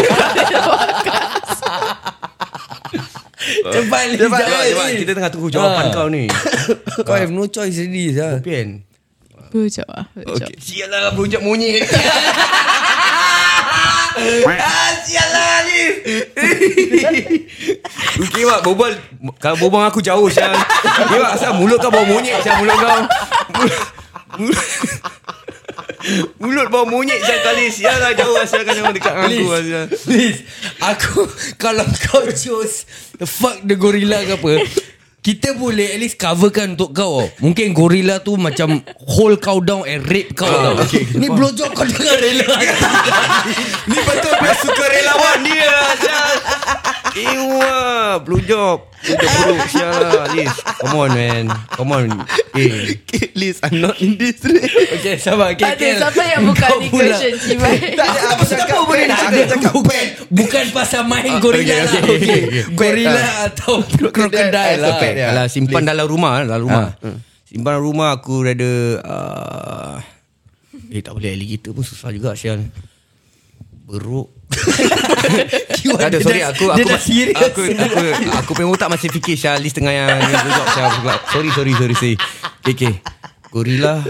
Cepat Lee,
Cepat, cepat,
jawab
cepat.
Lee.
Kita tengah tunggu jawapan
Ah.
kau ni.
Kau have no choice already sah.
Pian.
lah, Blowjob ah Blowjob
Sialah, bujak monyet. Ah, sialah ni. Okay, Mak. Berbual. Kalau berbual dengan aku jauh, Syah. Okay, Mak. Asal mulut kau bau monyet, Syah. Mulut kau. Mulut- Mulut bau monyet, Syah. Kali, Syah lah jauh. Syah kan jangan dekat dengan aku, Syah.
Please, please. Aku Kalau kau choose The fuck the gorilla ke apa Kita boleh at least coverkan untuk kau oh. Mungkin gorilla tu macam Hold kau down and rape kau tau
Ah,
okay, Ni blowjob kau dengan rela
Ni betul punya suka relawan dia Syah Ewa Blue job Blue job buruk Syah Liz Come on man Come on Eh
Liz, I'm not in this race.
Okay sabar okay,
Tak ada
Kel.
siapa yang buka
Kau
ni
pula.
question Cibai
Tak ada apa cakap boleh nak ada cakap
Bukan Bukan pasal main gorila
okay,
lah
okay, okay, okay.
Gorila atau Krokodil
as a
lah
pet, ya.
Alah simpan dalam rumah eh, Dalam rumah Hmm. Simpan dalam rumah Aku rada uh, Eh tak boleh alligator pun susah juga Syah Beruk
You
Tak ada
are-
sorry
dia-
aku
Dia
aku
dah serius
aku aku aku punya otak masih fikir Syah list tengah yang yang blowjob Syah pula. Sorry sorry sorry sorry. Okay, okay. Gorilla.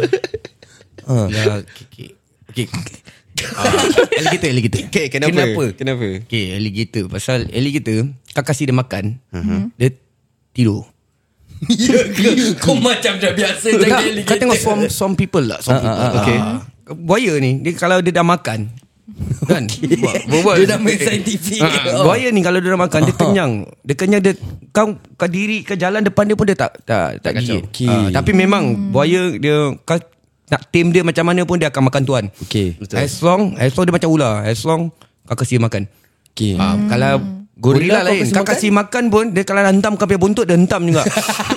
Ha. Ya, okay, okay. Okay. Ah, alligator, alligator.
Okay, kenapa?
Kenapa?
Kenapa?
Okay, alligator. Pasal alligator, kau kasih dia makan, dia tidur.
Ya ke? Kau macam dah biasa
Kau,
jaga
kau
alligator. ah,
tengok swamp, swamp people lah. Swamp people.
okay.
Ah. Buaya ni, dia kalau dia dah makan, kan? Buat-
Dia dah main scientific
Ha, buaya ni kalau dia dah makan dia kenyang. Dia kenyang dia kau kau diri ke jalan depan dia pun dia tak tak tak gigit.
Okey.
Ah, tapi memang buaya dia kau nak tame dia macam mana pun dia akan makan tuan.
Okey.
Betul. As long as long dia macam ular, as long kau kasih dia makan.
Okey.
Ah, kalau
Gorilla kau
gorila, lain
kasih
kau
makan?
kasih makan pun dia kalau hentam kau punya buntut dia hentam juga.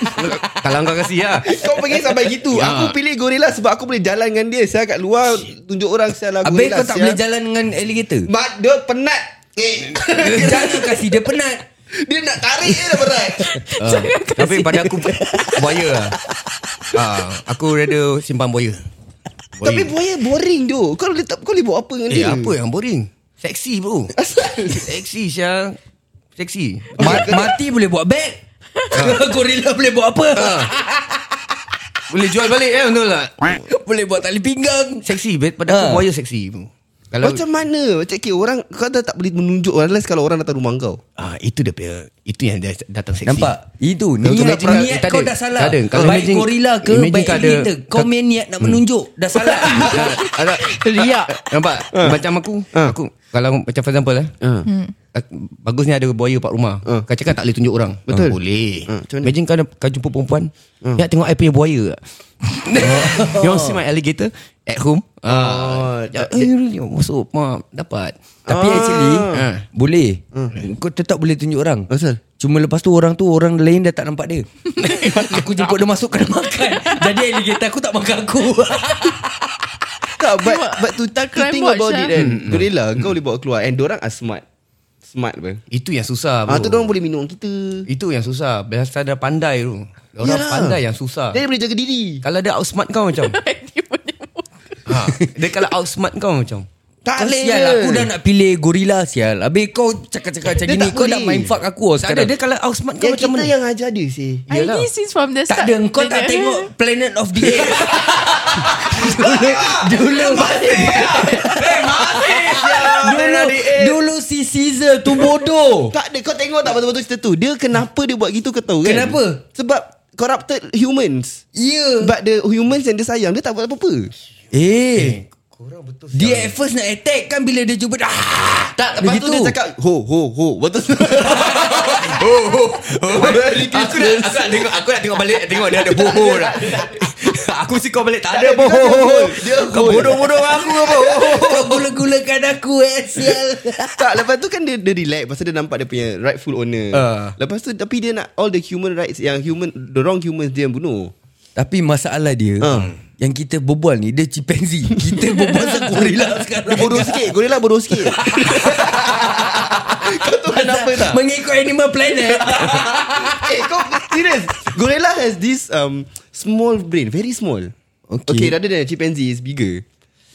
kalau kau kasih ya.
Kau pergi sampai gitu Aku pilih gorila Sebab aku boleh jalan dengan dia Saya kat luar Tunjuk orang Saya lah
Habis
gorila
kau tak
sial.
boleh jalan dengan alligator.
Mak dia penat Eh,
Jangan kasih dia penat.
Dia nak tarik dia dah berat
Ah, tapi pada aku buaya lah. Ah, aku rada simpan buaya. Boring.
Tapi buaya boring tu Kau boleh tak Kau boleh buat apa dengan
Eh
dia
Hmm.
apa yang boring Seksi bro
Asal
Seksi Syah Seksi Ah.
Ma- mati boleh buat beg. Gorilla boleh buat apa?
Boleh jual balik eh Betul tak
boleh buat tali pinggang.
Seksi bet- Pada aku
Ah.
buaya seksi Kalau
Macam mana Macam okay, orang Kau dah tak boleh menunjuk Unless kalau orang datang rumah kau
ah, Itu dia punya Itu yang dia datang seksi
Nampak? Itu
Kalau
niat,
imagine-
niat
tak
kau
ada.
dah salah.
Tak ada. Kalau
baik
imagine-
gorila ke
imagine
baik
kau ada-
alligator. Kau
kau- Hmm. Ah,
main niat nak menunjuk. Dah salah.
Alah,
Riak
Nampak
Ha.
Macam aku Aku Kalau macam for example eh Ak- Bagusnya ada buaya kat rumah Kau cakap tak boleh tunjuk orang
Ha. Betul.
Ah, Boleh
Ah, macam mana? Ha.
Imagine kau, kau jumpa perempuan Ya tengok I punya buaya
Oh.
You want see my alligator At home Ah, ya, Eh really Masuk mak Dapat
Tapi actually
Ah.
Boleh Kau tetap boleh tunjuk orang
Ha. Asal?
Cuma lepas tu orang tu Orang lain dah tak nampak dia Aku jemput dia masuk Kena makan Jadi alligator aku tak makan aku
Tak but, but to,
Tak
to
crime
think
watch
about
lah.
it kan
Mm-hmm.
Gorilla kau boleh bawa keluar And orang are smart Smart apa
Itu yang susah bro.
Ah tu orang boleh minum kita
Itu yang susah Biasa dah pandai tu Orang
Yalah.
pandai yang susah
Dia boleh jaga diri
Kalau dia outsmart kau macam
Dia punya muka
ha. Dia kalau outsmart kau macam lah,
Tak boleh
Sial aku dah nak pilih gorila sial Habis kau cakap-cakap macam
Dia
gini
tak
Kau nak
boleh.
main fuck aku oh,
Tak ada
sekarang
dia kalau outsmart kau
Yang
macam
kita
mana
yang ajar dia sih
Yelah. I since from the
Tak
start
ada Kau
dia
tak
dah-
tengok Planet of the Apes Dulu Dulu Dulu Dulu si Caesar tu bodoh
Tak ada kau tengok tak betul-betul cerita tu Dia kenapa dia buat gitu kau tahu kan
Kenapa?
Sebab corrupted humans
Ya
But the humans yang dia sayang Dia tak buat apa-apa
Eh Dia at first nak attack Kan bila dia jumpa ah,
Tak lepas
Begitu.
tu dia cakap Ho ho ho Betul
Aku nak, aku nak tengok Aku nak tengok balik Tengok dia ada boho tak Aku mesti kau balik Tak ada
Dia
boho
hol, Dia
Kau
hol.
bodoh-bodoh aku apa
Kau gula-gulakan aku eh Sial
Tak lepas tu kan dia, dia relax Pasal dia nampak dia punya rightful owner
Ah.
Lepas tu tapi dia nak All the human rights Yang human The wrong humans dia yang bunuh
Tapi masalah dia
Ah.
Hmm.
Yang kita berbual ni Dia chimpanzee Kita berbual pasal gorila Oh, sekarang
Dia bodoh sikit Gorilla bodoh sikit Kau tu kenapa tak
Mengikut Animal Planet
Eh kau serious Gorilla has this um, Small brain Very small
Okay.
okay rather than a chimpanzee Is bigger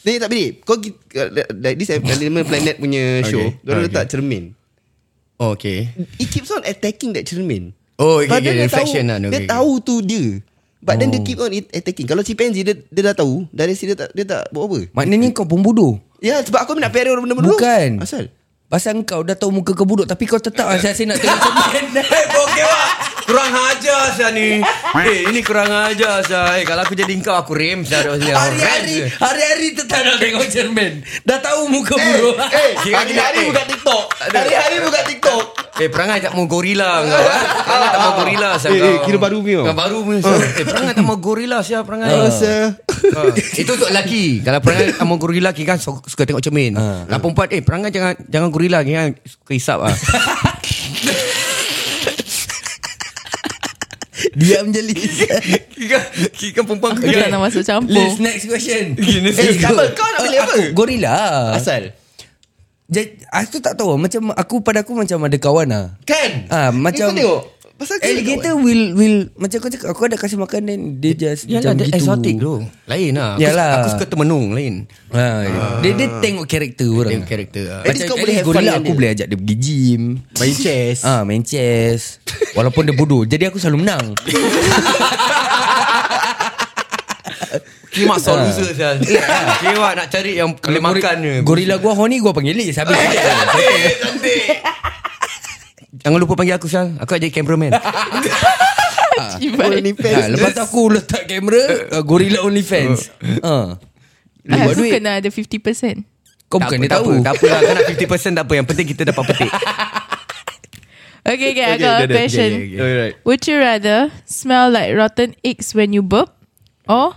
Ni tak boleh Kau gi- uh, Like this Animal Planet punya show okay. Diorang letak cermin
Oh okay
It keeps on attacking that cermin
Oh, okay,
Padahal
okay,
dia
reflection
tahu,
lah,
Dia
okay, Oh. okay.
tahu tu dia But then they keep on it- attacking Kalau chimpanzee dia, dia dah tahu Dari sini dia tak, dia tak buat apa
Maknanya kau pembodoh
Ya sebab aku nak pelihara benda bodoh
Bukan
Asal
Pasal kau dah tahu muka kau bodoh Tapi kau tetap Asyik-asyik nak tengok cermin
Okay lah Kurang ajar saya ni Eh ini kurang ajar saya eh, Kalau aku jadi kau Aku rem saya
Hari-hari Hari-hari tetap nak tengok cermin Dah tahu muka bodoh
Eh
Kira kira-
hari-hari buka TikTok Hari-hari buka Tiktok
Eh perangai tak mau gorila kau eh? Perangai tak mau gorila saya
Eh,
kau
eh, kira baru punya.
Kau baru punya saya. Eh perangai tak mau gorila saya perangai
Oh sir
Ah, Itu untuk lelaki Kalau perangai sama gorila Kira kan su- suka tengok cermin
Ah.
Kalau perempuan Eh perangai jangan Jangan gorila Kira kan suka hisap lah
Diam je Liz
Kira Kira kan perempuan
Aku
kira-
tak nak masuk campur
Liz next question
Eh apa kau
lah,
nak pilih apa
Gorila
Asal
Jadi, Aku tak tahu Macam aku pada aku Macam ada kawan lah
Kan
Ah, macam-
Eh, kau tengok Pasal kau
Alligator will will Macam kau cakap Aku ada kasih makan Then dia just Macam
Yalah dia
gitu
ya, exotic tu Lain lah aku,
Yalah.
aku suka termenung Lain
ha,
Ah.
dia, dia tengok karakter orang
Tengok karakter ah.
At least
at
kau
least
boleh have fun
gorila
dengan
aku
dia.
boleh ajak dia pergi gym Main chess ah, Main chess Walaupun dia bodoh Jadi aku selalu menang
Kira mak soal loser saya Kira mak nak cari yang
Gori-
Boleh makan je
Gorila gua horny Gua panggil Liz Habis
Jangan lupa panggil aku Syal Aku nak jadi cameraman
Jibat.
ha, Lepas tu aku letak kamera uh, Gorila only fans ha.
Ah,
Buat
Aku
duit.
kena ada 50%
Kau bukan
apa,
dia tahu
apa, Tak apa lah Kau nak 50% tak apa Yang penting kita dapat petik
Okay, okay, I got a question.
Alright
Would you rather smell like rotten eggs when you burp or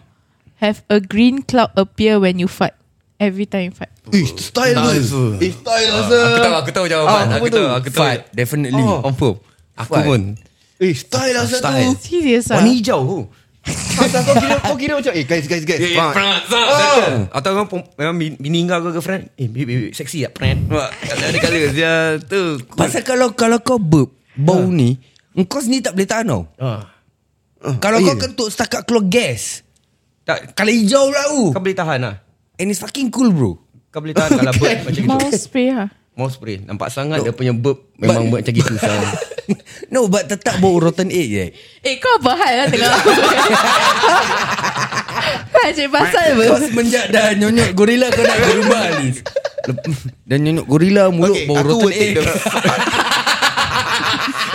have a green cloud appear when you fart? Every time you fart.
Eh style
Tak, tu.
tu Eh style tu
Aku tahu Aku tahu jawapan
Ah, apa
Aku
tu?
tahu Aku tahu
Fart Definitely oh.
Confirm Aku
Fart.
pun
Eh style asal
Style.
Oh.
tu
Serious ah.
Warna hijau tu
Asal kau kira Kau kira macam Eh guys guys guys Fart.
Oh.
Atau kau pun- Memang bini- bini kau ke girlfriend Eh babe, babe, babe, Sexy tak friend Ada kala dia tu
Pasal kalau kalau kau burp
Ha.
Bau ni Kau sendiri tak boleh tahan tau
Ah.
Kalau
oh,
kau
ya.
kentut Setakat keluar gas
Tak
Kalau hijau lah tu
Kau boleh tahan lah
And it's fucking cool bro
Kau boleh tahan Kalau burp macam gitu
Mouth spray ha.
Mouse spray Nampak sangat Dia punya burp Memang buat macam gitu Syal.
No but tetap bau rotten egg je
Eh kau apa hal lah tengah aku. Kau asyik pasal apa?
Kau semenjak dah nyonyok gorila Kau nak berubah ni Dan nyonyok gorila Mulut
Okay,
bau
aku
rotten
will take
egg
the-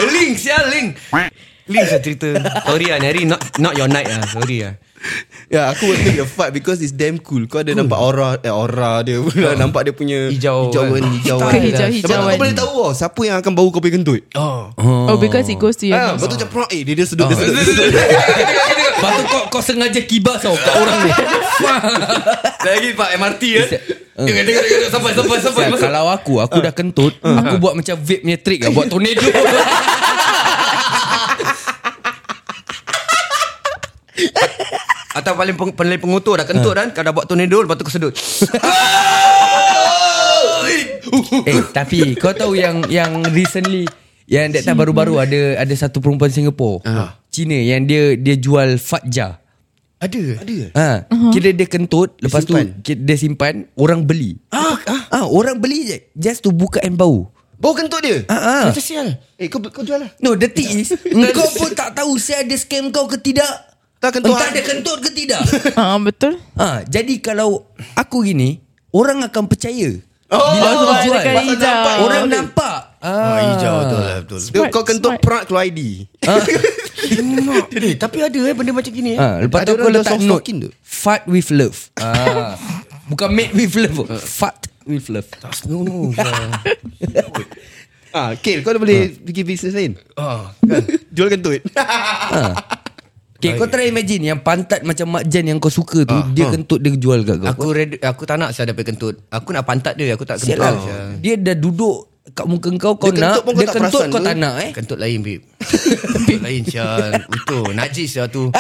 Link sial link Link saya cerita Sorry lah ni hari Not, not your night lah Sorry lah
Ya aku will take the fight Because it's damn cool Kau ada nampak aura eh, Aura dia pula Nampak dia punya
Hijau
Hijauan
kan.
Hijauan
Style lah.
Sebab
Hijauan.
Kau boleh tahu oh, Siapa yang akan bau kau punya kentut
Oh
Oh, because it goes to your
Ah,
nose.
Betul macam pro- Eh dia dia sedut
Oh.
Dia sedut, dia sedut
Lepas tu kau, kau sengaja kibas tau Kat orang ni
Lagi pak MRT kan Tengok tengok tengok Sampai sampai sampai
Sial,
Masuk
Kalau aku Aku dah kentut Aku buat macam vape punya trick lah, Buat tornado
Atau paling peng, paling pengotor Dah kentut kan Kau dah buat tornado Lepas tu kau sedut
Eh tapi Kau tahu yang Yang recently Yang that time baru-baru Ada ada satu perempuan Singapore Cina Yang dia Dia jual fatja
Ada Ada
Ha, uh-huh. kira dia kentut lepas
simpan.
tu kira dia simpan orang beli. Ah, ah. orang beli je just to buka and bau.
Bau kentut dia
Ah, ah.
Macam sial
Eh kau, kau jual lah
No, the thing is engkau pun tak tahu saya ada scam kau ke tidak.
Tak kentut.
Entah dia kentut ke tidak.
Ah, betul.
ha, jadi kalau aku gini, orang akan percaya.
Oh,
Bila aku
sebab
jual.
dia kena
Pasal
hijau.
nampak, Orang nampak. Ah,
Hijau tu lah betul
Dia,
Smart,
Kau kentut
smart.
perak keluar ID
Eh tapi ada eh Benda macam gini eh
Ah, lepas tu
Ada
aku
orang jual
letak
soft
note
stocking tu.
Fart with love ah. Bukan made with love Fart with love
No no
Ah, Kil kau dah boleh Pergi bisnes lain
Ah,
Jual kentut
Okay, kau try imagine yang pantat macam Mak Jan yang kau suka tu,
Ah.
dia kentut dia jual kat kau.
Aku ready, aku tak nak saya dapat kentut. Aku nak pantat dia, aku tak
Sial
kentut.
lah.
Syal.
Dia dah duduk kat muka kau, kau
Dia
nak,
kentut pun kau
dia
tak
kentut
perasan
kau
tu.
tak nak eh.
Kentut lain babe Kentut lain Syal Betul Najis lah tu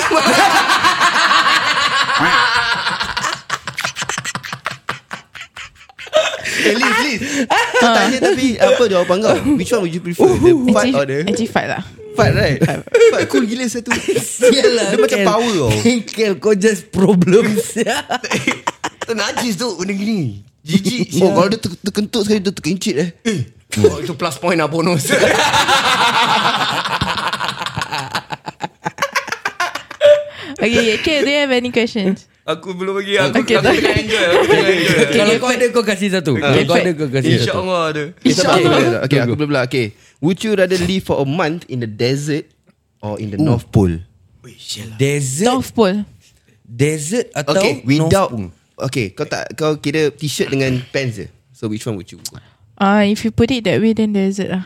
Eh Liz
Ah.
Liz Kau tanya tapi Apa jawapan kau Which one would you prefer The fart or the
Uhuh. Actually, actually fight lah.
Fart right Fart cool gila satu Dia macam power tau
Kel, kau just problem sial.
Tu najis tu Benda gini Jijik
Oh kalau dia ter- terkentut sekali Dia terkencit eh
oh, Itu plus point lah bonus
Okay, okay. Do you have any questions?
Aku belum lagi Aku,
Okay,
okay, aku
tak.
tengah enjoy Aku tengah enjoy
Okay,
Kalau
okay,
kau ada kau kasih satu Kalau
Okay,
kau ada kau kasih satu
InsyaAllah ada
InsyaAllah.
Okay aku boleh pula Okay Would you rather live for a month In the desert Or in the North Pole
Desert
North Pole.
Desert atau
Okay
North
Without
Pole?
Okay kau tak Kau kira t-shirt dengan pants je So which one would you go
Ah, if you put it that way, then desert lah.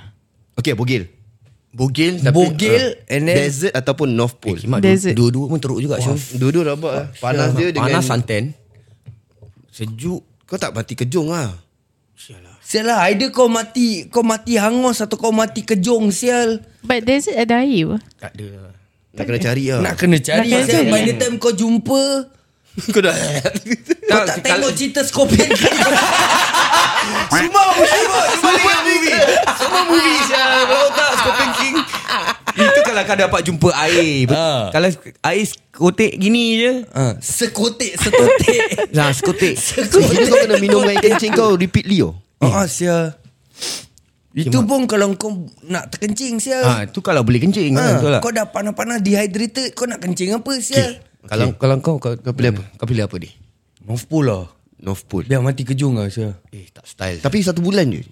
Okay bogil
Bogil tapi
Bogil uh, And then
Desert ataupun North Pole
Kimak
Desert.
dua-dua pun teruk juga Syul.
Dua-dua rabak lah Panas dia dengan
Panas santan
Sejuk Kau tak mati kejung lah
Sial lah Either kau mati Kau mati hangus Atau kau mati kejong Sial
But desert ada air apa?
Tak ada lah.
Tak kena cari lah
Nak kena cari
Nak kena
Sial
cari.
By the time kau jumpa
Kau dah
Kau tak tengok cerita Scorpion King
Semua movie Semua movie Semua movie sial. Kau tak Scorpion King
Itu kalau kau dapat jumpa air
Ah.
Kalau air kotek gini je
Ah, Sekotik Setotik
Nah sekotek
Itu kau kena minum air kencing kau Repeatedly oh
Oh sial Itu pun kalau kau nak terkencing sial
Ah, tu kalau boleh kencing
Ah,
kan, betul tak?
Kau dah panas-panas dehydrated Kau nak kencing apa sial
Kalau kalau kau kau, kau pilih apa? Kau pilih apa dia?
North Pole lah
Hmm. North Pole
Biar mati kejung lah sial
Eh tak style.
Tapi satu bulan je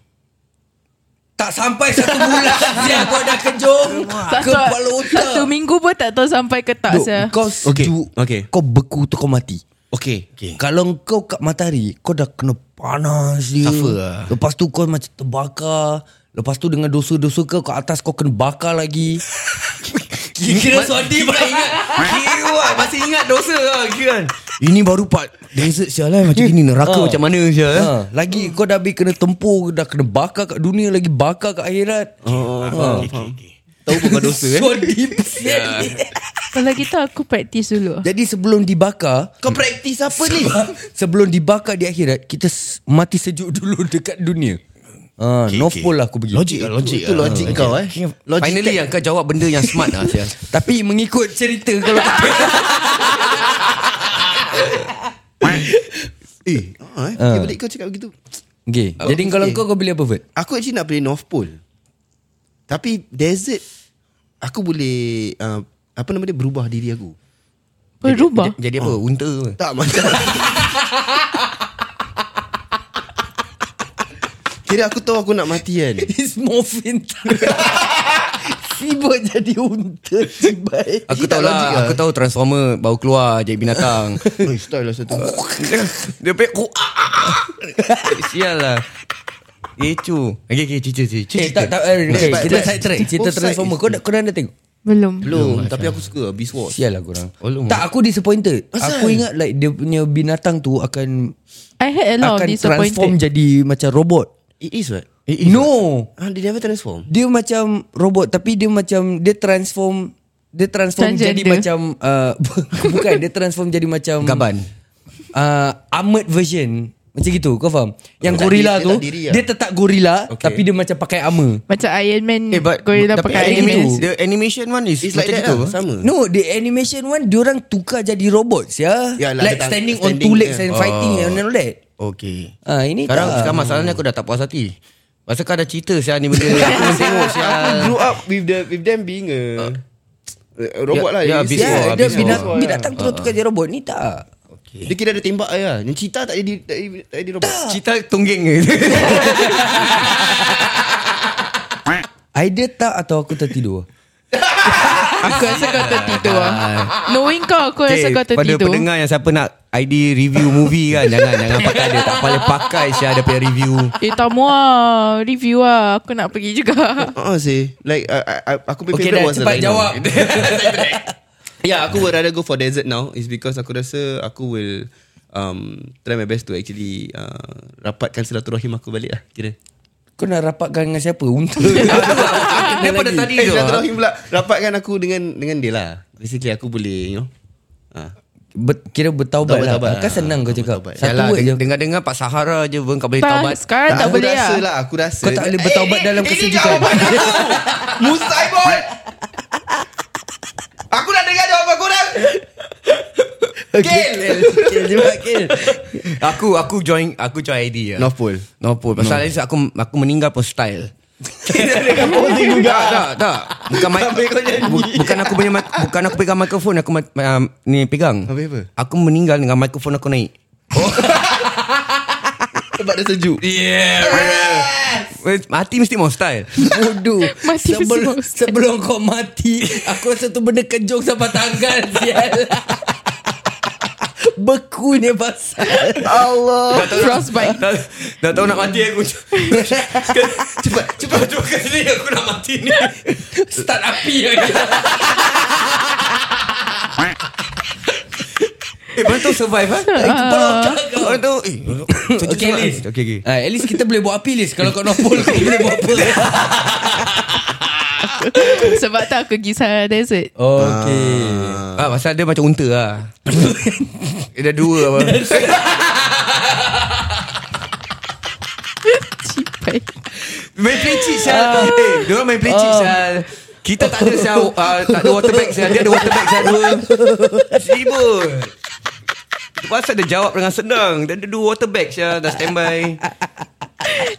Tak sampai satu bulan Sial kau dah kejung Kepala otak
Satu minggu pun tak tahu sampai ke
Dok,
tak saya.
Kau
Okay,
sejuk
okay.
Kau beku tu kau mati
Okay
Okay.
Kalau kau kat matahari Kau dah kena panas dia
Suffer lah.
Lepas tu kau macam terbakar Lepas tu dengan dosa-dosa kau Kat atas kau kena bakar lagi Kira-kira suadi pula ingat
Kira masih ingat dosa lah kira. Ini baru part desert sial lah macam gini neraka
Ah.
macam mana sial.
ha,
eh?
Lagi kau dah habis kena tempur Dah kena bakar kat dunia Lagi bakar kat akhirat oh,
Tahu pun kau dosa eh
Kalau gitu aku praktis dulu.
Jadi sebelum dibakar
Kau praktis apa ni
Sebelum dibakar di akhirat Kita s- mati sejuk dulu dekat dunia ha, okay, North
okay.
Pole lah aku pergi
Logik lah logik.
Itu
lah.
logik kau eh
Logik Finally yang kau jawab benda yang smart lah sial.
Tapi mengikut cerita Kalau
Eh ah,
Uh.
eh. Fikir balik kau cakap begitu
okay. Jadi kalau kau kau pilih apa Fert?
Aku actually nak pilih North Pole Tapi desert Aku boleh uh, Apa nama dia Berubah diri aku
Oh, Berubah.
Jadi
Ah.
apa? Unta ke?
Tak macam Kira aku tahu aku nak mati kan
It's morphine Sibuk jadi unta Cibai
Aku
Actually
tahu
tak logik
lah
lah.
Aku tahu Transformer Baru keluar Jadi binatang
Oi, style lah satu
Dia pe oh, ah, ah, ah. Sial lah Kecu Okay okay Cucu cucu cucu.
Eh tak tak eh, okay,
but-
Kita
but-
side track Cerita
Oh,
both side
Transformer
is-
Kau dah, kau dah anda tengok
Belum.
Belum Tapi aku suka Beast Wars
Sial lah korang
Oh, lu-
Tak aku disappointed Aku ingat like Dia punya binatang tu Akan
I had a lot of
Akan transform
disappointed.
jadi Macam robot
It is right
No
Ah, Dia never transform
Dia macam robot Tapi dia macam Dia transform Dia transform
Transgender.
jadi macam uh, Bukan Dia transform jadi macam
Gaban.
uh, Armored version Macam gitu Kau faham Yang
Dia tak
gorila
diri- dia
tu
tak diri lah.
Dia tetap gorila okay. Tapi dia macam pakai armor
Macam Iron Man
Eh but
Gorilla
Tapi
pakai Iron Man
animation The animation one is
It's like
macam
that
gitu
lah
ah.
Sama
No the animation one Diorang tukar jadi robot ya
Ya lah,
Like
dia tak-
standing, on
standing
two legs
dia. Oh.
And fighting and all that
Okay
Ah, Ini
sekarang,
tak
sekarang masalahnya aku dah tak puas hati Pasal kau dah cerita sial ni benda Aku belum tengok sial
Grew up with the with them being a, a
Ya,
robot lah
ya,
Dia-
Beast
Ya,
Wars,
dia
habis
binat,
semua.
binatang tu tukar jadi robot Ni tak
Dia kira ada tembak je lah Yang cita tak jadi Tak jadi, tak jadi robot
Cerita tungging ke
Idea tak atau aku tertidur
Aku rasa kau tertidur ah. Knowing kau Aku rasa
Okay,
kau
Pada
tertidur
pendengar yang siapa nak ID review movie kan Jangan jangan pakai dia Tak payah pakai sial Dia punya review
Eh tak muah Review lah Aku nak pergi juga
Ah sih Like uh, uh, Aku punya
Okay
favorite
dah
was the lah.
cepat
rhino.
jawab
Yeah Ya, aku would rather go for desert now Is because aku rasa Aku will um, Try my best to actually uh, Rapatkan silaturahim aku balik lah Kira
Kau nak rapatkan dengan siapa? Unta
Dia pada tadi
Eh
tu ah.
silaturahim pula Rapatkan aku dengan Dengan dia lah Basically aku boleh You know Ah,
Ber, Kira bertaubat,
Bertaubat,
lah
bertaubat.
Kan senang kau cakap
Bertaubat.
Satu
Yalah,
word je
dengar-dengar Pak Sahara je pun kau boleh
tak,
taubat.
Eh,
Sekarang tak
aku
boleh
rasa
lah
lah Aku rasa eh,
Kau tak boleh bertaubat dalam kesejukan
lah. Musaibot Aku dah dengar jawapan korang
Kill Kill juga kill
Aku aku join aku join ID ya.
North Pole
North Pole. Pasal no. aku aku meninggal pun style. Tak, tak, tak. Bukan mic, bu- bukan aku punya mic- bukan aku pegang mikrofon aku ma- um, ni pegang.
Habis apa?
Aku meninggal dengan mikrofon aku naik.
Sebab dia sejuk
Weh, Eh, Mati mesti mau style.
Bodoh
Mati
sebelum,
mesti bosan.
sebelum kau mati Aku rasa tu benda kejong sampai tangan Sial Bekunya pasal
Dah tahu-
Frostbite.
Dah, dah tahu nak mati aku.
Cepat cepat
Cuba kat sini aku nak mati ni.
Start api lagi
Eh, mana tahu survive ha? Eh, kepala
Ah.
otak kau. Orang tahu. Eh, sejuk
Okay,
sangat.
Liz.
Okay, okay.
Ah, at least kita boleh buat api, Liz. Kalau kau nopol, kau boleh buat apa.
Sebab tu aku pergi Sahara Desert
Okay.
Ah, pasal dia macam unta lah. Dia dah dua apa.
Cipai
Main pelicit sial. Eh, diorang main pelicit sial. Kita tak ada sial, ah, tak ada water bag sial. Dia ada water bag sial dua. Sibuk. Itu pasal dia jawab dengan senang. Dia ada dua water bag sial. Dah standby.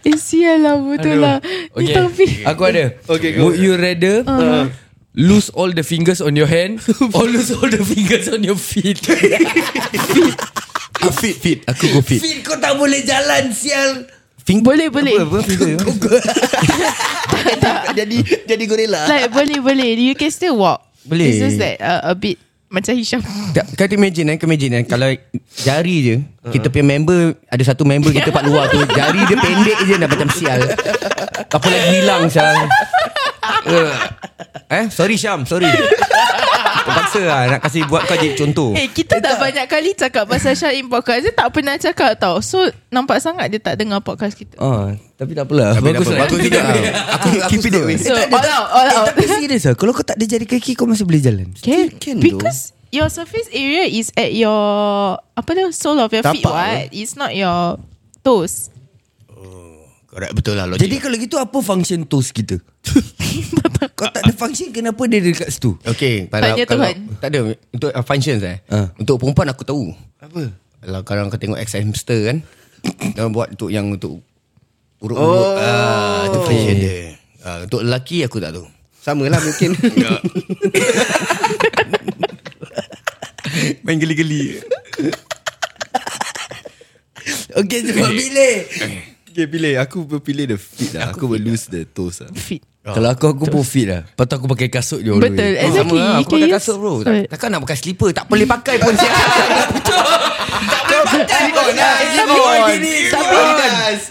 Eh sial lah Betul
Aduh.
lah Ni Hmm. Taufik
Aku ada.
Okay, go.
Would you rather uh. lose all the fingers on your hand or lose all the fingers on your feet?
Aku Ah, fit, fit. Aku go fit.
feet kau tak boleh jalan, sial.
Fing-
Boleh, boleh.
Apa, apa, finger?
Ah, Jadi jadi gorila
Like boleh boleh You can still walk
Boleh.
It's just that uh, A bit Macam Hisham
Tak, Kau tu imagine kan, kau imagine kan Kalau jari je Kita punya member Ada satu member kita kat luar tu Jari dia pendek je dah macam sial Apa lagi hilang sial uh. Eh sorry Syam sorry Terpaksa lah nak kasih buat kau jadi contoh
Eh kita dah banyak kali cakap Pasal Syahim podcast Dia tak pernah cakap tau So nampak sangat Dia tak dengar podcast kita
Ah, tapi tak apalah.
Tapi tak apa,
lah.
bagus juga. Aku- aku
Keep it that way.
So all out All
Eh,
out
tapi serius lah Kalau kau tak ada jari kaki Kau masih boleh jalan
Okay
Can though.
Because Your surface area is at your Apa tu Sole of your feet
Tapak.
what It's not your Toes
Correct betul lah logik
Jadi kalau gitu Apa function toes kita Kau tak ada function Kenapa dia dekat situ
Okay
Tanya Tuhan.
Tak ada Untuk uh, functions eh
Ha.
Ah.
Untuk perempuan aku tahu Apa? Kalau kadang kau tengok ex hamster kan Dia orang buat untuk yang untuk Urut-urut oh. ah, Itu function
Oh.
dia Ah, Untuk lelaki aku tak tahu
Sama lah mungkin
Main geli-geli
Okay cepat
Eh.
pilih
Okay pilih Aku pilih the feet lah Aku will lose the toes lah
Feet
Ah.
Kalau aku Aku pun fit lah Lepas tu aku pakai kasut je all the way.
Betul Exactly
Sama lah
You
Aku
can
pakai
use-
kasut bro Tak-
Right.
Takkan nak pakai slipper Tak boleh pakai pun siap
Tapi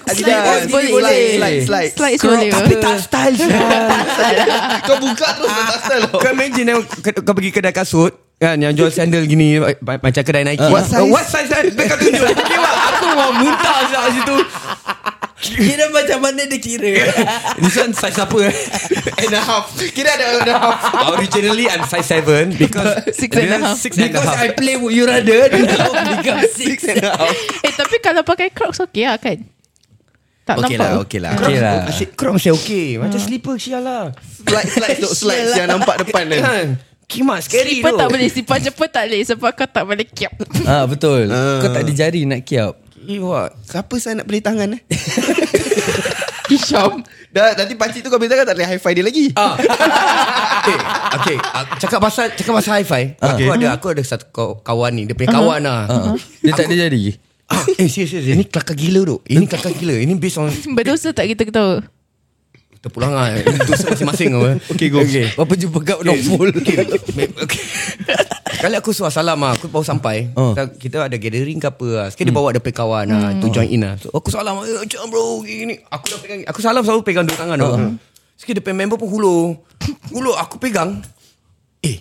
Adidas
boleh.
Slide Slide slide
Slides boleh
Tapi tak style siap
Kau buka terus Tak style tau.
Kau imagine eh, kau- Kau pergi kedai kasut Kan yang jual sandal gini ma- ma- Macam kedai Nike
What
size?
Ah. What size kan Kau tunjuk Kewak Aku mau muntah siap kat situ
Kira macam mana dia kira
This one size apa eh?
And a half Kira ada and a half
Originally I'm size 7 Because
Six and a half.
Six and a
Because
half
I play Would you rather Dia tahu become six
Eh tapi kalau pakai crocs Okay lah kan Tak
Okay
nampak
lah Okay lah Okay lah
Kau masih okay Macam
Hmm.
slipper sial lah
Slide slide Tok slide Yang nampak depan kan
Kimak scary tu
Sipar tak boleh Sipar cepat tak boleh Sebab kau tak boleh kiap
Ah Betul
Ah.
Kau tak ada jari nak kiap
Kimak
Siapa saya nak beli tangan eh Hisham Dah nanti pakcik tu kau beli tangan Tak boleh high five dia lagi
Ah. eh, okay. ah, Cakap pasal cakap pasal hi-fi. Aku ada aku ada satu kaw- kawan ni, dia
Hmm.
punya kawan lah.
Uh-huh.
Ah, Dia tak ada jari
Ah, eh, serius serius. Ini kelakar gila tu. Ini kelakar gila. Ini based on
Berdosa tak kita ketawa
terpulang ah. Itu masing-masing eh. apa.
Okay go Okay
Apa jumpa kau Nopol
Okay. Kali aku suruh salam lah Aku baru sampai
Ah.
Kita- Kita ada gathering ke apa lah Sekali dia bawa dia punya kawan lah To join in lah so, Aku salam eh, Macam bro gini, gini. Aku dah pegang Aku salam selalu pegang dua tangan tau Sekali dia punya member pun hulur Hulur aku pegang Eh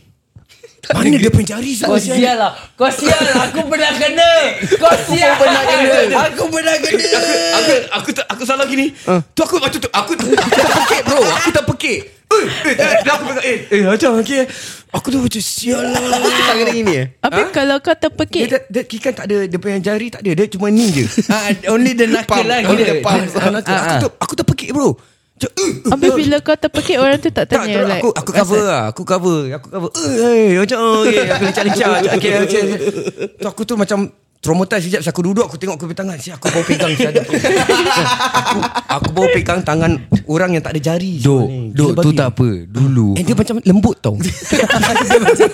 Mana dia punya jari
Kau
semua
sial
sial
lah Kau sial lah Aku pernah kena Kau sial Aku pernah kena Aku pernah kena
Aku aku ter, aku salah gini. Tu aku aku tu- aku aku terpekik bro. Aku terpekik. Eh, eh, eh, dah aku pegang. Eh, eh, macam okay. Aku tu macam sial lah.
Tangan dia gini eh
Tapi kalau kau
Dia,
terpekik
tak- dia, dia kan tak ada Dia punya jari tak ada Dia cuma ni je
Ah, Only the knuckle lah
Only
kira.
the palms.
Ah,
Aku aku
ah.
ter, aku terpekik bro Macam, eh, eh,
Habis
eh.
bila kau terpekik Orang tu tak
tak,
tanya
tak,
like,
aku, aku cover lah Aku cover Aku cover Eh, eh, Macam oh, yeah, Aku lecah-lecah Macam, okay, okay. Tu aku tu macam Traumatize sekejap Saya aku duduk Aku tengok ke tangan Siap aku baru pegang siap, ada. aku, aku baru pegang tangan Orang yang tak ada jari
Dok, dok tu tak apa. Dulu.
Eh dia macam lembut tau Dia macam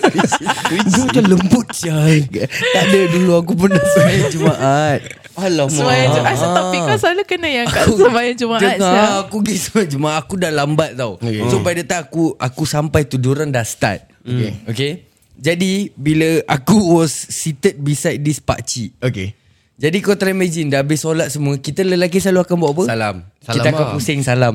Dia macam lembut sial
tak ada dulu aku pernah sembahyang Jumaat.
Semayang Jumaat Asal topik kau selalu kena yang kat Semayang Jumaat
Dengar
sial.
aku pergi sembahyang Jumaat aku dah lambat tau.
Hmm.
So by the time aku aku sampai tu dorang dah start. Okay. okay. Jadi bila aku was seated beside this pakcik
Okay
Jadi kau try imagine Dah habis solat semua Kita lelaki selalu akan buat apa?
Salam.
Kita
Salam
akan
lah.
pusing salam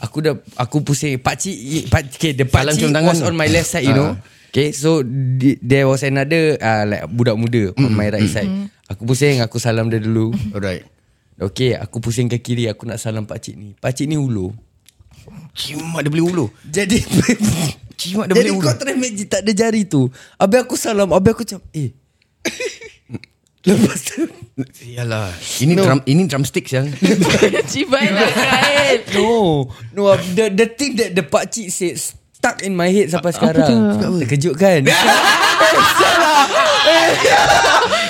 Aku dah Aku pusing Pakcik pak, Okay the
Salam
pakcik
cium tangan
was
tu.
on my left side you
Ah.
know Okay so di, There was another uh, like Budak muda On my right side Aku pusing Aku salam dia dulu
Alright
Okay aku pusing ke kiri Aku nak salam pakcik ni Pakcik ni ulu
Ciumat dia beli ulu
Jadi
Ciumat dia
Jadi
beli ulu
kau try imagine Tak ada jari tu Habis aku salam Habis aku macam Eh Lepas tu
Yalah Ini no. drum ini ya. drumstick sial
Cibai lah Kain
No No the, the thing that the pakcik said Stuck in my head sampai sekarang
tu?
Terkejut kan
Eh.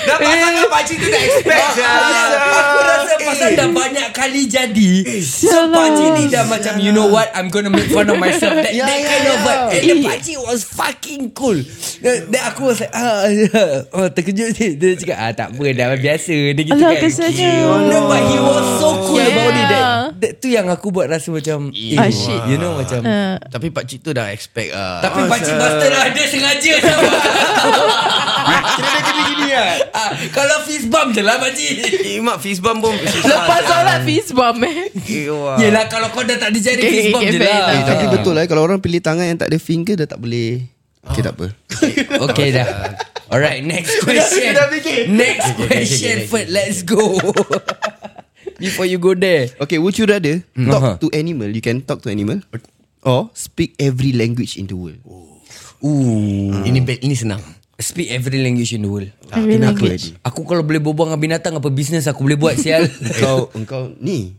Dah pasal kalau pakcik tu tak expect
Aku rasa pasal
Eh.
dah banyak kali jadi So pakcik ni dah macam You know what I'm gonna make fun of myself That,
Ya,
that kind of vibe And
Eh.
the pakcik was fucking cool Then then aku was like ah, ah, oh, Terkejut je Dia cakap ah, Tak apa dah biasa Dia gitu
Alah Ya.
kan
kesannya
No but he was so cool
Yeah.
about it that, that, Tu yang aku buat rasa macam eh,
Ah, shit.
You know macam
Hmm.
Ah.
Tapi pakcik tu dah expect uh,
Tapi oh, pakcik bastard lah Dia sengaja
Kira dia kena gini lah
ah, Kalau fist bump je lah pakcik
Mak fist bump pun
Lepas solat fist bump eh
Yelah kalau kau dah tak ada jari
Okay,
Fist bump
okay,
je
fair
lah
Ah. Eh, tapi betul lah eh, Kalau orang pilih tangan yang tak ada finger Dah tak boleh Okay tak apa
Okay dah Alright next question
dah fikir.
Next question Ferd let's go Before you go there
Okay would you rather Talk
aha.
to animal You can talk to animal Or speak every language in the world
Ooh.
Ini bad, ini senang
Speak every language in the world
Ah,
Every language
Aku kalau boleh berbual dengan binatang Apa bisnes aku boleh buat sial
Engkau Engkau ni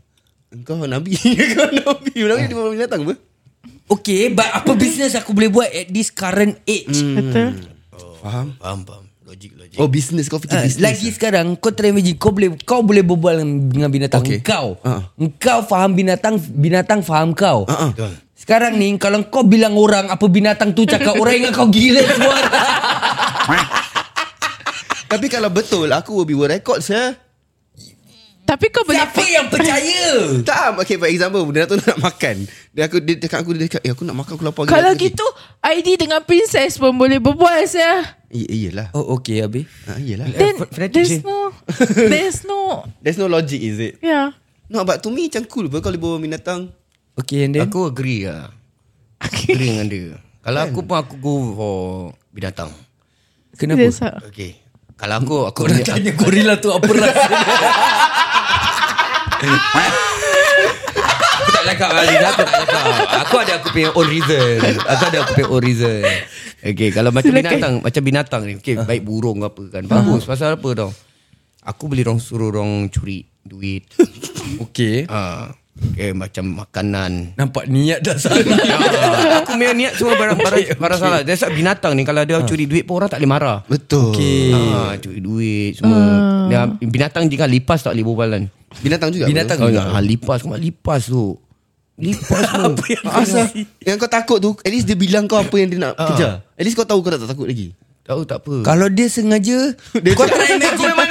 Engkau nabi Engkau nabi Nabi dia baru binatang apa
Okay but apa bisnes aku boleh buat At this current age
Betul
Faham, faham Logik, logik
Oh business Kau fikir
Ah,
business
Lagi sekarang Kau try imagine Kau boleh kau boleh berbual dengan binatang okay. Ha.
Okay.
Kau
Ah.
Kau faham binatang Binatang faham kau
Ah, ah.
Betul.
Sekarang ni Kalau kau bilang orang Apa binatang tu cakap Orang ingat kau gila semua
Tapi kalau betul Aku will be world records ya.
Tapi kau boleh
Siapa yang percaya
Tak Okay for example Dia tu nak makan Dia aku dia dekat aku Dia dekat eh, Aku nak makan Aku lapar
Kalau
Aku-
gitu ID dengan princess pun boleh berbual saya.
Eh, eh, Yelah
Oh okay Abi
Ah, Yelah
Then
Eh, fanatik je.
there's no there's no
There's no logic is it
yeah.
No but to me Macam cool pun Kalau bawa binatang
Okay and then
Aku agree lah Agree dengan dia Kalau aku pun aku go for binatang
Kenapa Ya.
There's a-
Okay Kalau aku Aku
Korang tanya gorila tu apa rasa
Aku tak cakap lah Liza Aku tak cakap Aku ada aku punya own reason Aku ada aku punya own reason Okay Kalau macam
Silakan.
binatang Macam binatang ni Okay baik burung ke apa kan Bagus Pasal apa tau Aku boleh orang suruh orang curi duit
Okay
Ah, okay, Macam makanan
Nampak niat dah salah
Ah, Aku punya niat semua barang barang, barang salah That's why binatang ni Kalau dia curi duit pun orang tak boleh marah
Betul
Okay
Ah, curi duit semua Dia, Binatang jika lipas tak boleh berbualan
Binatang juga
Binatang
oh,
juga.
ah, Lipas kau lipas tu Lipas tu
Apa yang
Asal Yang kau takut tu At least dia bilang kau Apa yang dia nak kejar At least kau tahu Kau tak, tak takut lagi
Tahu tak apa
Kalau dia sengaja dia Kau try imagine ah,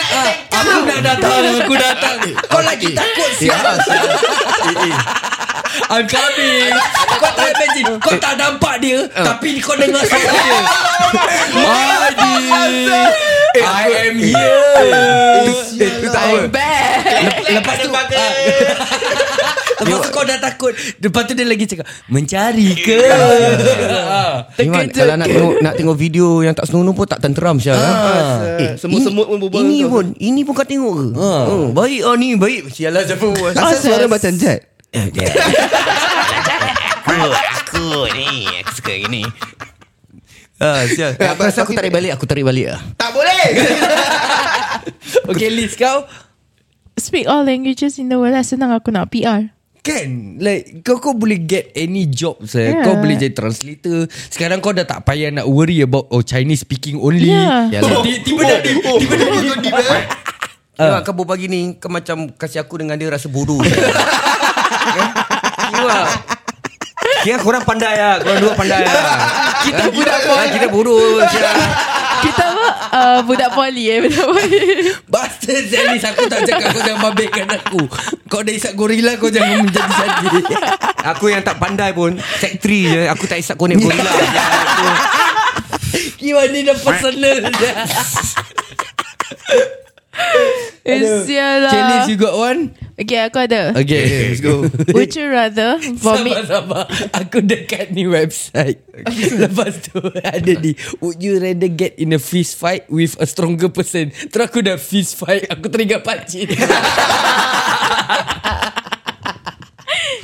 Aku nak datang Aku datang Eh, Kau lagi takut siapa eh, I'm coming Kau try imagine Kau tak nampak dia Tapi kau dengar suara dia Madi I am eh.
Eh,
here Itu tak apa Lepas tu ah, Lepas tu kau dah takut Lepas tu dia lagi cakap Mencari ke Ah.
Iman, kalau nak tengok, nak tengok video yang tak senonoh pun tak tenteram sial. Ah,
Eh, semut-semut pun berbual
Ini
dengan kau.
pun, ini pun kau tengok ke? Ha.
Hmm,
Oh, baik
lah
ah ni, baik. Sialah siapa buat.
Asal suara macam Jet
aku ni, aku suka ini. Ah, sial. Aku rasa aku tarik balik, aku tarik balik ah.
Tak boleh
Okay Liz kau
Speak all languages in the world lah Senang aku nak PR
Kan Like kau kau boleh get any job saya. Yeah.
Yeah.
Kau boleh jadi translator Sekarang kau dah tak payah nak worry about Oh Chinese speaking only
Yeah.
Ya
So,
lah.
ti- Tiba dah di
Oh,
Tiba dah di
Kau kau berbual gini Kau macam Kasih aku dengan dia Rasa bodoh Eh? Kira Kira korang pandai lah Korang dua pandai lah Kita budak kau Kita bodoh Kira
Kita apa uh, Budak poli eh Budak poli
Bastard Zelis Aku tak cakap kau jangan babekkan aku Kau dah isap gorila Kau jangan menjadi saja
Aku yang tak pandai pun Sek 3 je Aku tak isap connect gorilla
Kira ni dah personal
Sial lah
Challenge you got one
Okay aku ada
Okay, okay let's go
Would you rather Vomit
Sabar-sabar Aku dekat ni website Lepas tu ada di Would you rather get in a fist fight With a stronger person Terus aku dah fist fight Aku teringat pakcik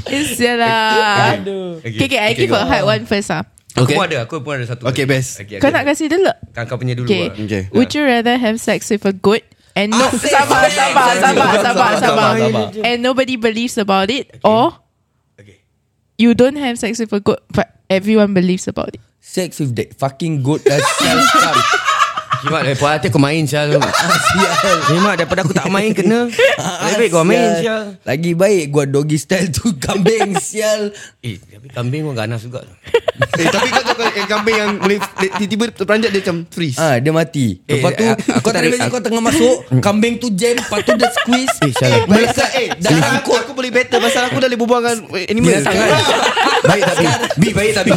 Eh, Sial lah
Aduh
Okay okay I give a hard one first ah.
Okay Aku pun ada Aku pun ada satu
Okay, best.
Kau nak kasih dulu
Kau, kau punya dulu
Okay.
lah.
Okay.
Would you rather have sex with a goat and no
Asyik.
sabar,
Asyik.
sabar,
Asyik.
sabar,
Sabar,
sabar, Ah,
sabar,
sabar,
sabar.
and nobody believes about it, or you don't have sex with a goat, but everyone believes about it.
Sex with that fucking goat Dah sial scum.
Jimat daripada eh, hati aku main Syal
Ah, Sial Ah,
Jimat daripada aku tak main kena Lebih baik kau main Syal
Lagi baik gua doggy style tu Kambing sial
Eh tapi kambing pun ganas juga
eh, tapi kau tahu kan yang kambing yang boleh tiba-tiba terperanjat dia macam freeze.
Ah dia mati.
Eh,
Lepas tu
eh, aku-
kau
aku tak
tak
ada-
imagine
aku-
kau tengah masuk, kambing tu jam, lepas tu dia squeeze.
Eh Syal
Pasal eh,
dah
dah aku, aku boleh better pasal aku dah boleh berbual dengan eh, animal.
Bila sangat Baik tapi Bi baik tapi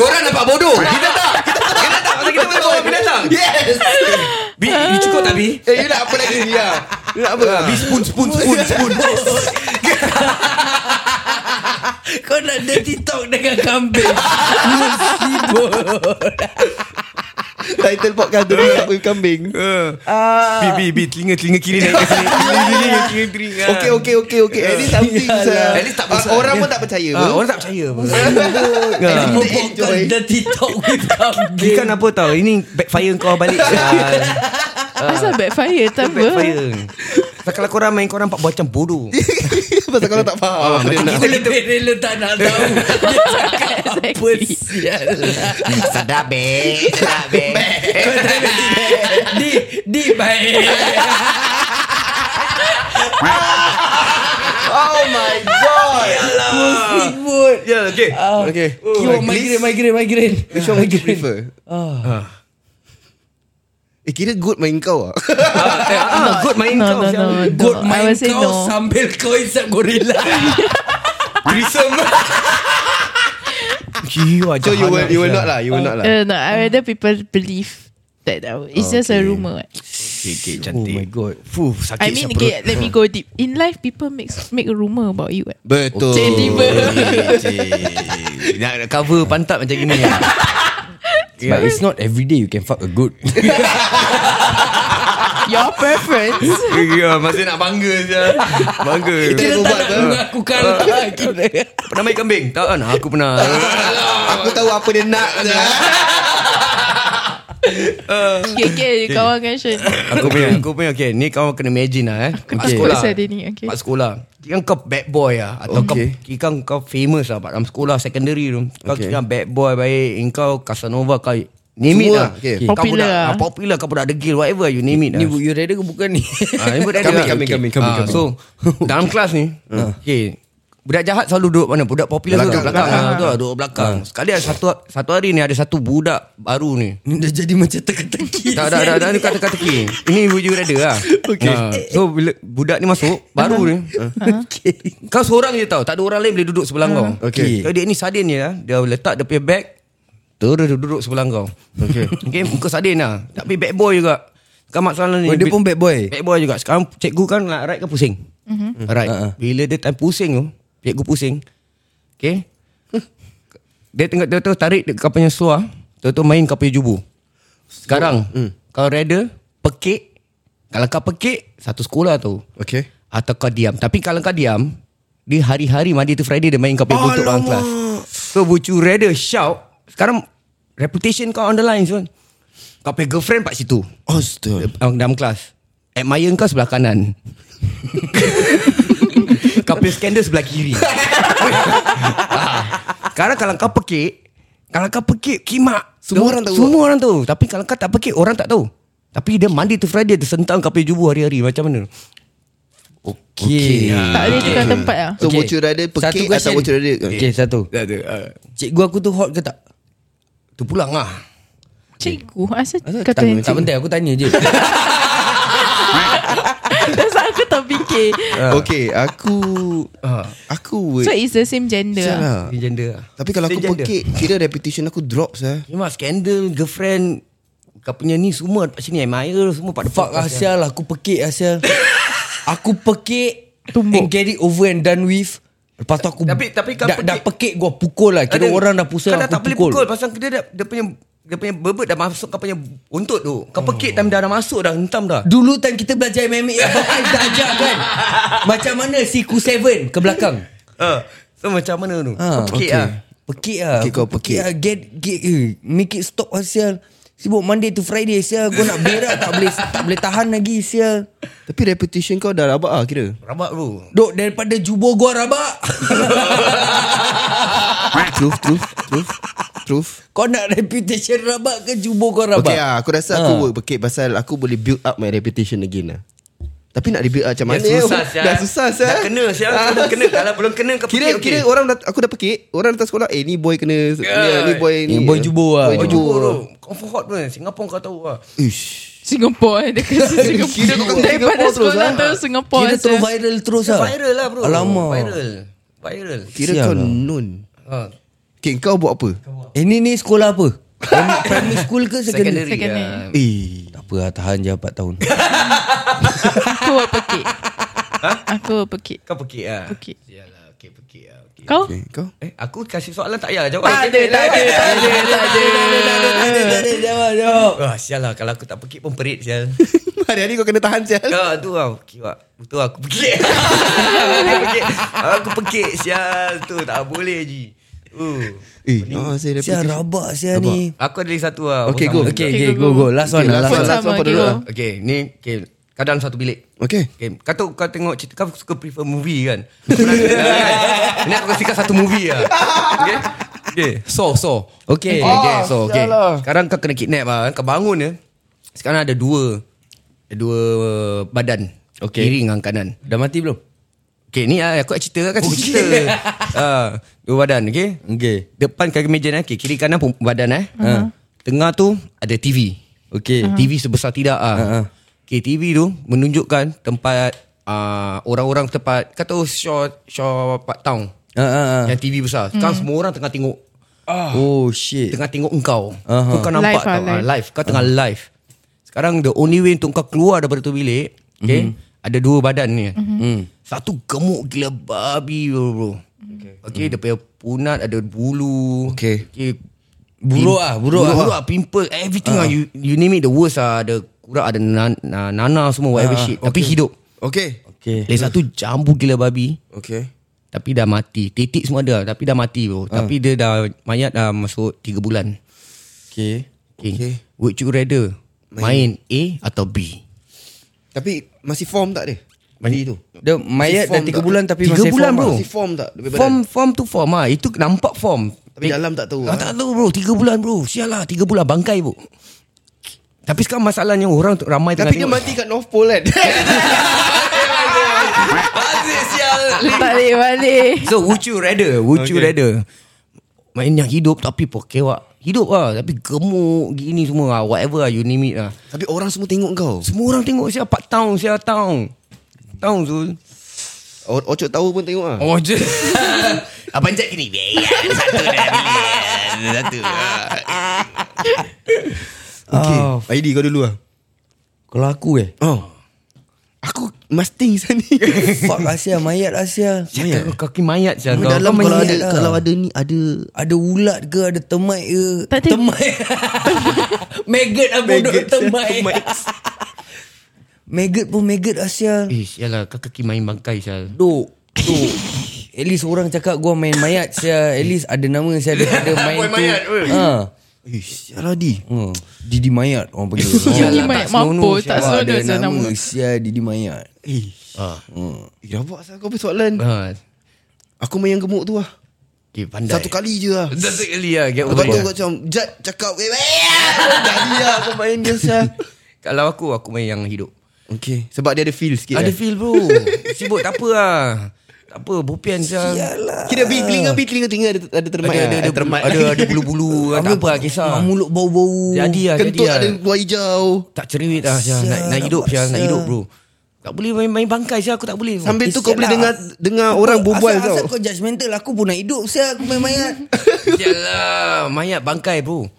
Korang nampak bodoh Kita tak Kita tak Pasal Ah, kita boleh bawa binatang
Yes.
Bi you cukup tak Bi
Eh, you nak apa lagi ni? Ya. You nak apa?
Bi spoon spoon spoon spoon
Kau nak dirty talk dengan kambing.
Title podcast tu
Kan?
aku kambing.
Bi bi bi Telinga telinga kiri naik ke sini Telinga telinga kiri telinga
Okay, okay, okay, okay. At least something. sir.
Kan? At least tak
Ah,
besar.
Orang pun tak percaya.
Ah,
pun.
Orang tak percaya Kan? pun.
Kau
Ah.
membuatkan
Enjoy.
dirty talk with
Ni kan
kambing.
apa tau Ini backfire kau balik Ah,
Asal backfire, tak apa?
Backfire Pasal Kalau korang main Korang nampak macam bodoh
Pasal korang tak
Ah,
faham. apa dia nak.
Aku lebih rela tak nak tahu Dia cakap apa
Exactly.
sial Sedap be Sedap be Di Di baik
Oh my god.
Sibut
Ya okay
Ah, Okay.
Oh,
Yo migraine migraine migraine
Which one would you prefer?
Ah.
Ah. Eh, kira good main kau ah.
Ah, Good main
No,
kau
no, no.
Syam.
no.
Good
I
main
will say
kau
no.
Sambil kau isap gorila
Threesome Gila
So you will
Ah.
you will not lah, you will not lah.
Uh, no, I rather people believe that uh, it's just a rumor. what.
Sikit
Oh my
cantik
god
Fuh sakit
I mean, okay, let me go deep. In life, people makes make a rumor about you. eh. what.
Betul.
Cik tiba.
Nak nak cover pantat macam gini Ya.
But it's not everyday you can fuck a good
Your preference.
Ya Masih nak bangga je Bangga
Kita
Dia tak
ubat
nak
tu.
mengakukan Ah, Kira
Pernah main kambing? Tak kan Aku pernah Ah.
Aku tahu apa dia nak.
Okay, okay, kawan kan Sean.
Aku punya Aku punya okay Ni kau kena imagine lah eh Kat
takut
sekolah
pasal dia ni, okay.
Kat sekolah Kan kau bad boy lah Atau
Okay.
kau Kan kau famous lah Kat dalam sekolah secondary tu Kau okay. kira bad boy baik Kau Casanova kau Name it
Semua,
lah
okay.
Kau
Popular
budak-
lah.
ah, Popular Kau budak degil Whatever you name it
Ni
lah
would you rather ke bukan ni eh?
Ah, ni budak
Kambing,
dia.
kambing,
Okay.
kambing, kambing,
Ah,
kambing. Ah.
So dalam kelas ni, okay, budak jahat selalu duduk mana? Budak popular
Belakang, Ah.
belakang, belakang, belakang, belakang, belakang, duduk belakang. Sekali ada satu satu hari ni ada satu budak baru ni.
Ni dah jadi macam teka-teki
Tak, tak, tak, tak, ni kata-kata ki. Ini would you rather lah. Okay. so, bila budak ni masuk, baru ni.
Ah.
Ah. okay. Kau seorang je tau, tak ada orang lain boleh duduk sebelah kau.
Ah. Okay.
So, dia ni sudden je lah. Dia letak dia punya bag, terus dia duduk sebelah kau. Okay. okay, muka sudden lah. Tapi bad boy juga. Kan masalah ni.
Oh, dia
bila-
pun bad boy
Bad boy Eh. juga Sekarang cikgu kan nak ride kan pusing mm-hmm. Ride
Ha, ha.
uh-huh. Bila dia time pusing tu Cikgu pusing Okay Dia tengok Dia tu tarik dia- kau punya seluar Dia tu main kau punya jubu Sekarang Kau rather Pekik Kalau kau pekik Satu sekolah tu
Okay.
Atau kau diam Tapi kalau kau diam Dia hari-hari Monday to Friday Dia main kau punya buntut orang kelas So would you rather shout Sekarang Reputation kau on the line Sun Kau punya girlfriend pak situ
Oh, Astaga.
dalam, dalam kelas Admire kau sebelah kanan Kau punya skandal sebelah kiri ah. Sekarang kalau kau pekik Kalau kau pekik Kimak
Semua
Dia-
orang tahu.
Semua orang tahu Tapi kalau kau tak pekik Orang tak tahu Tapi dia mandi tu Friday Dia sentang kau punya jubu hari-hari Macam mana
Okay, Ah.
Tak boleh tukar tempat ah. lah
So would you rather
Satu
pekik
question.
atau would you rather
Okay satu
ah.
Cikgu aku tu hot ke tak?
Tu pulang Eh, lah
Cikgu Asal kau
Tak,
tanya
tak
cikgu
penting aku tanya je
Asal aku tak fikir
Ah.
Okay aku ah, Aku would
So it's the same gender
Sial
lah.
lah.
Gender lah
Tapi kalau aku
Same gender.
pekik Kira reputation aku drop sah.
Memang skandal Girlfriend Kau punya ni semua Dekat sini Admire semua pada
Fuck lah sial Aku pekik lah sial Aku pekik
Tumbuk.
And get it over and done with Lepas tu aku
Tapi- tapi kau
dah,
pekik-
dah pekik gua pukul lah Kira
Ada-
orang dah pusing
Kau dah
aku
tak boleh pukul Pasal dia, dah, dia punya Dia punya bebek dah masuk Kau punya untut tu Kau pekit time dah, dah masuk dah Hentam dah
Dulu time kita belajar MMA Abang Ais dah ajar kan Macam mana Siku 7 ke belakang
uh, So macam mana tu
ha,
Kau pekit lah
Pekik lah
Pekik kau
Aku
pekik.
lah. Get, get eh, Make it stop lah sial Sibuk Monday to Friday sial Gua nak berak tak boleh Tak boleh tahan lagi sial
Tapi reputation kau dah rabak lah kira
Rabak bro
Dok daripada jubur gua rabak
Truth Truth Truth Truth
Kau nak reputation rabak ke jubur kau rabak?
Okay lah Aku rasa aku would pekik Pasal aku boleh build up my reputation again lah tapi nak rebuild up macam mana
sial.
Dah susah sial
Dah kena sial
Ah.
Dah kena Kalau belum kena kau
Kira
pekit
kira
okay.
orang dah, aku dah pekik, orang datang sekolah, eh ni boy kena
Yeah.
ni, ni boy
Ni
ni.
boy jubur lah.
Boy
Kau
jubur.
jumpa tu Comfort hot pun Singapura kau tahu lah
Ish.
Singapore eh Dia kata
Kira kau
Singapore
kat
Daripada
Singapore terus,
sekolah
ah.
terus lah. Singapore
Kira terus
asal.
viral terus lah.
eh. Viral lah bro
Alamak.
Viral Viral
Kira
Sial
kau
lah.
non.
Ha.
Okay, kau buat apa?
Eh ni ni sekolah apa? Primary- Primary school ke secondary?
Secondary ah.
Secondary.
Eh,
Tak apa lah, tahan je 4 tahun.
Aku will pekik Aku will pekik
Kau pekit lah
Pekik.
Yalah Okay pekit lah okay.
Kau
okay, kau.
Eh aku kasih soalan tak payah lah, jawab Tak
Jawab, jawab.
Wah sial lah Kalau aku tak pekit pun perit sial
Hari-hari kau kena tahan sial.
Kau tu lah Pekit wak Betul aku pekit Aku pekit. Aku pekit sial Tu tak boleh je uh.
Eh, ah, saya dah
Sial
fikir.
rabak sial ni.
Aku ada lagi satu lah
Okay,
Sama.
go.
Okay, okay, go, go. Last one
Okay,
lah, last one.
last one.
Sama
apa
okay,
dulu
go.
ah?
Okay ni okay. Kau dalam satu bilik
Okay.
Eh.
Okay. Kau tahu kau tengok cerita Kau suka prefer movie kan Ini aku kasih kau satu movie lah Okay Okay So so Okay
Ah,
okay so okay Sekarang kau kena kidnap lah Kau bangun ya Sekarang ada dua Dua badan
Okay.
Kiri dengan kanan
Dah mati belum?
Okay ni lah aku nak cerita kan okay. cerita uh, Dua badan okay
Okay.
Depan kaki meja ni okay. Kiri kanan pun badan eh uh-huh. Tengah tu ada TV
Okay.
uh-huh. TV sebesar tidak ah.
Ha-ha.
Uh-huh. Okay, TV tu menunjukkan tempat uh, orang-orang tempat kata oh, Shaw Shaw Park Town.
Ah, ah, ah.
Yang TV besar. Sekarang semua orang tengah tengok
Oh shit.
tengah tengok engkau.
Aha.
Uh-huh. Kau nampak
Live
tau
ah,
live.
live.
live. Kau tengah live. Sekarang the only way untuk kau keluar daripada tu bilik, okay? Ada dua badan ni.
Mhm.
Satu gemuk gila babi bro. bro. Okay. okay dia punya punat ada bulu.
Okay.
okay.
Buruk ah, buruk ah.
Buruk ah, pimple, everything ah. You, you name it the worst ah. Ada kurak, ada nan, na- nana semua whatever
Ah,
shit. Tapi hidup.
Okay.
Okay.
Lagi satu jambu gila babi.
Okay.
Tapi dah mati. Titik semua ada tapi dah mati bro. Tapi dia dah mayat dah masuk 3 bulan.
Okay.
Okay.
Okay.
okay. Would you rather main. main A atau B?
Tapi masih form tak dia? Mandi tu.
Dia mayat dah 3
form tak?
bulan tapi
Tiga
masih
bulan,
form
bro.
ah.
Masih form tak? Dia punya badan?
Form form tu form ah. Itu nampak form.
Tapi dalam tak tahu,
Ah,
ah.
tak tahu bro. 3 bulan bro. Sial lah 3 bulan bangkai bro. Tapi sekarang masalahnya orang tu- ramai
Tapi dia
tengah
mati kat North Pole kan?
Aziz sial.
Tak boleh balik
So would you rather? Would okay. you
Okay.
rather? Main yang hidup tapi pokewak. Hidup lah tapi gemuk gini semua lah. Whatever lah you name it lah.
Tapi orang semua tengok kau.
Semua orang tengok siapa town siapa town. Town tu.
O- Ocok tahu pun tengok ah.
Oh je Abang Jack ni Biar Satu dah bilion Satu
Okay.
Oh.
Aidi kau dulu ah.
Kalau aku eh.
Oh. Aku mustang sana.
Fuck Asia mayat lah Asia.
Mayat Kaki mayat je
Kau
kau
dalam
Kau
kalau
mayat
ada
lah.
kalau ada ni ada
Ada ulat ke Ada termite ke
Tak ada.
Termite Maggot lah bodoh
Maggot,
Termite Maggot pun maggot lah Asia
Eh sialah Kau kaki main bangkai sial
Duk Duk At least orang cakap gua main mayat Sia At least ada nama Sia Daripada main
Main
tu
mayat, weh.
ha.
Eh, sialah di.
Hmm. Didi Mayat orang panggil.
Didi
Alah,
Mayat,
tak senonoh,
mampus, tak
Wah,
sial.
senonoh
ada
saya
nama.
nama.
Sial Didi Mayat.
Eh. Ah. Eh, rabak sah kau punya soalan. Aku main yang gemuk tu lah.
Okay, Ha, pandai.
Satu kali je lah.
Satu kali lah. Get over
Lepas tu
it.
kau macam Jad cakap "Eh, eh, Dah dia kau main dia sah
Kalau aku, aku main yang hidup.
Okay Sebab dia ada feel sikit
Ada
eh.
feel bro. Sibuk tak apa lah. Tak apa, bopian sial. Eh,
Kira bi telinga bi telinga telinga ada ada termai
Ada, ada, ada,
termai
ada, ada bulu-bulu. tak apa lah, kisah.
Mulut bau-bau.
Jadi lah, jadi
Kentut
lah.
ada keluar hijau
Tak cerewet lah sial. Nak, nak hidup sial, nak hidup bro. Tak boleh main, main bangkai sial, aku tak boleh.
Sambil
Eh,
tu kau
sial
boleh
lah.
dengar dengar orang berbual
asal,
tau
Asal kau judgemental Aku pun nak hidup Saya aku main mayat
Sial lah, mayat bangkai bro.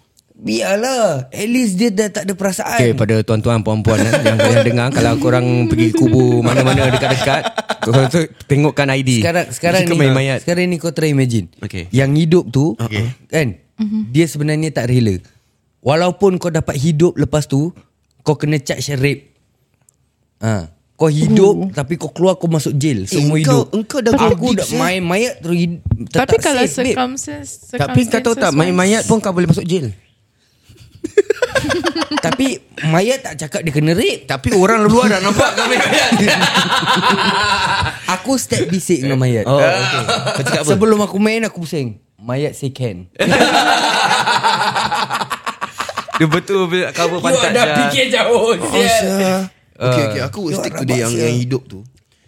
Biarlah At least dia dah tak ada perasaan
Okay, pada tuan-tuan, puan-puan eh, yang kalian dengar, kalau korang Hmm, pergi kubur mana-mana dekat-dekat, korang tu tengokkan ID.
Sekarang sekarang ni
Jika
lah.
main mayat.
Sekarang ni kau try imagine
Okay.
Yang hidup tu okay. Kan
Mhm.
Dia sebenarnya tak rela Walaupun kau dapat hidup lepas tu Kau kena charge rape ha. Kau hidup Tapi kau keluar kau masuk jail Semua
Oh. Eh, engkau-
hidup
engkau dah
Aku
go
dah
deep,
main mayat terus hid- tetap
Tapi kalau
safe, babe.
circumstances
Tapi kau tahu tak,
circumstances
main mayat pun kau boleh masuk jail.
Tapi mayat tak cakap dia kena rape
Tapi orang luar dah nampak kau main mayat.
Aku step bisik dengan mayat oh, okay. Sebelum aku main aku pusing Mayat say can
Dia betul bila cover pantat dah.
jauh
Okay okay aku
you
stick
are
to
rabak,
dia yang
sia.
yang hidup tu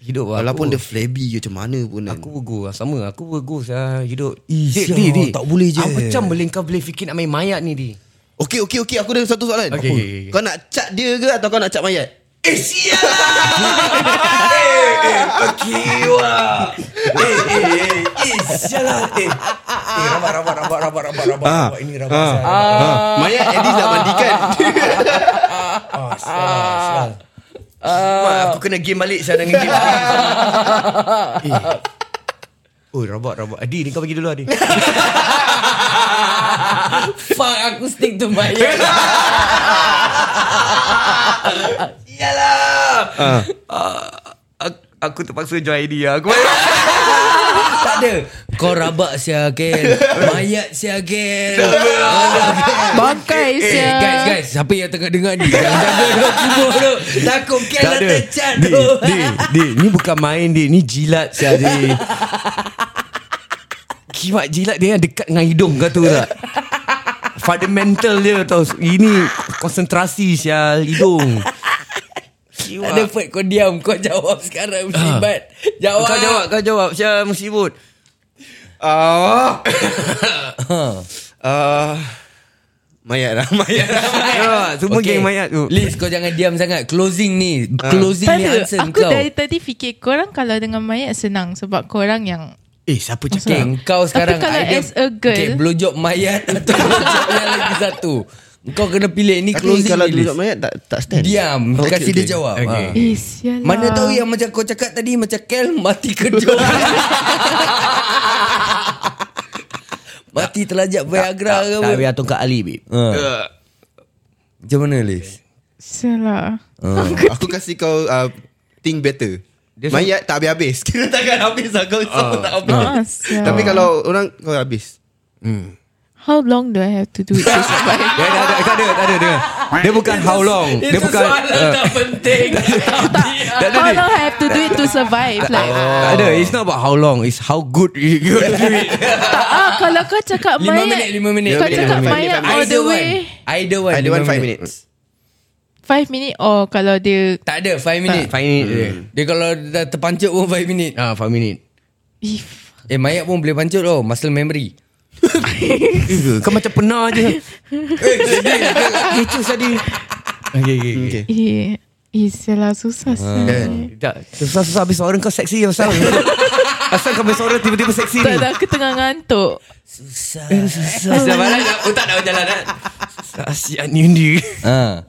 Hidup lah.
Walaupun
aku.
dia flabby je macam mana pun kan
Aku bergo lah Sama Aku bergo lah Hidup
Ih,
Dik,
sial,
dik, dik.
tak boleh je.
Aku macam boleh kau boleh fikir Nak main mayat ni di
Okay okay okay aku ada satu soalan
Okay,
Apa?
okay, okay.
Kau nak cat dia ke atau kau nak cat mayat
Eh sial lah Okay wah Eh eh eh Eh sial lah Eh Eh rabak rabak rabak rabak rabak rabak
Ah.
rabak Ini rabak sial
ha. Mayat at least dah mandikan
Ah, sial, sial. Mak aku kena game balik sial dengan game Eh Oh rabak rabak Adi ni kau pergi dulu Adi
Fuck aku stick to mayat
Yalah. Uh. aku, aku terpaksa join dia. lah. Aku
Tak ada Kau rabak sia Ken Mayat sia Ken
Bangkai
Eh
siya
guys guys Siapa yang tengah dengar ni Jangan jaga tu kubur tu Takut Ken dah tercat
Di,
tu
di, di, ni bukan main di, ni jilat sia di. Kimak jilat dia yang dekat dengan hidung kau tu tak? Fundamental dia tau. Ini konsentrasi sia hidung.
Tak ada Fred kau diam Kau jawab sekarang Musibat Jawab
Ah. Kau jawab, kau jawab sia musibut.
Ah.
Ha.
Ah. Mayat lah Mayat lah
Ya, semua
Okay.
geng mayat tu. Ah.
Liz kau jangan diam sangat Closing ni Closing
Tak
ni
ada
answer
Aku
kau
dari tadi fikir Korang kalau dengan mayat senang Sebab korang yang
Eh, siapa
Okay, kau
Tapi
sekarang
kalau
idea-
as a girl-
okay, Blowjob mayat Atau blowjob yang lagi satu Kau kena pilih Ni
Tapi
closing
kalau
ni,
duduk
Liz.
mayat tak, tak stand
Diam okay, Kasih okay. dia jawab okay.
Okay.
Ha.
Eh sialah
Mana tahu ya? yang macam kau cakap tadi Macam Kel mati kejut Mati terlajak Viagra ke apa
Tak biar tongkat Ali, babe.
ha. Macam mana Liz?
Sialah
Ah, Aku kasih kau uh, Think better Mayat tak habis-habis Kira takkan habis lah Kau
Oh,
sama tak habis
Ah, sial.
Tapi kalau orang Kau habis
How long do I have to do it to survive?
Dia ada, ada, tak ada, tak ada, dengar. Dia bukan how long. Dia bukan uh,
penting
tak ada ni.
How long I have to do it to survive? Like,
Oh.
Tak ada. It's not about how long. It's how good you you do it.
tak ah, kalau kau cakap
Lima
mayat
minit, lima minit.
Kau
Lima
cakap
minit,
mayat
lima minit.
all the
Either one
way
Either one
Ada one
lima
five
minit.
minutes
Five minit or kalau dia
Tak ada five minit
Five minute. je.
Dia kalau dah terpancut pun five minit
Ah, five minute.
If
Eh mayat pun boleh pancut tau Muscle memory
Eh, Kau macam pernah je. Eh, sedih. Kecoh tadi. Okay, okay, okay.
Eh Eh sialah susah sial
Tak, susah-susah habis suara kau seksi Asal Asal kau habis suara tiba-tiba seksi
Tak
ni
ada aku tengah ngantuk
Susah
Sudah malam dah
oh,
Otak dah berjalan
eh.
dah Kasihan ni dia
ha.
Ah.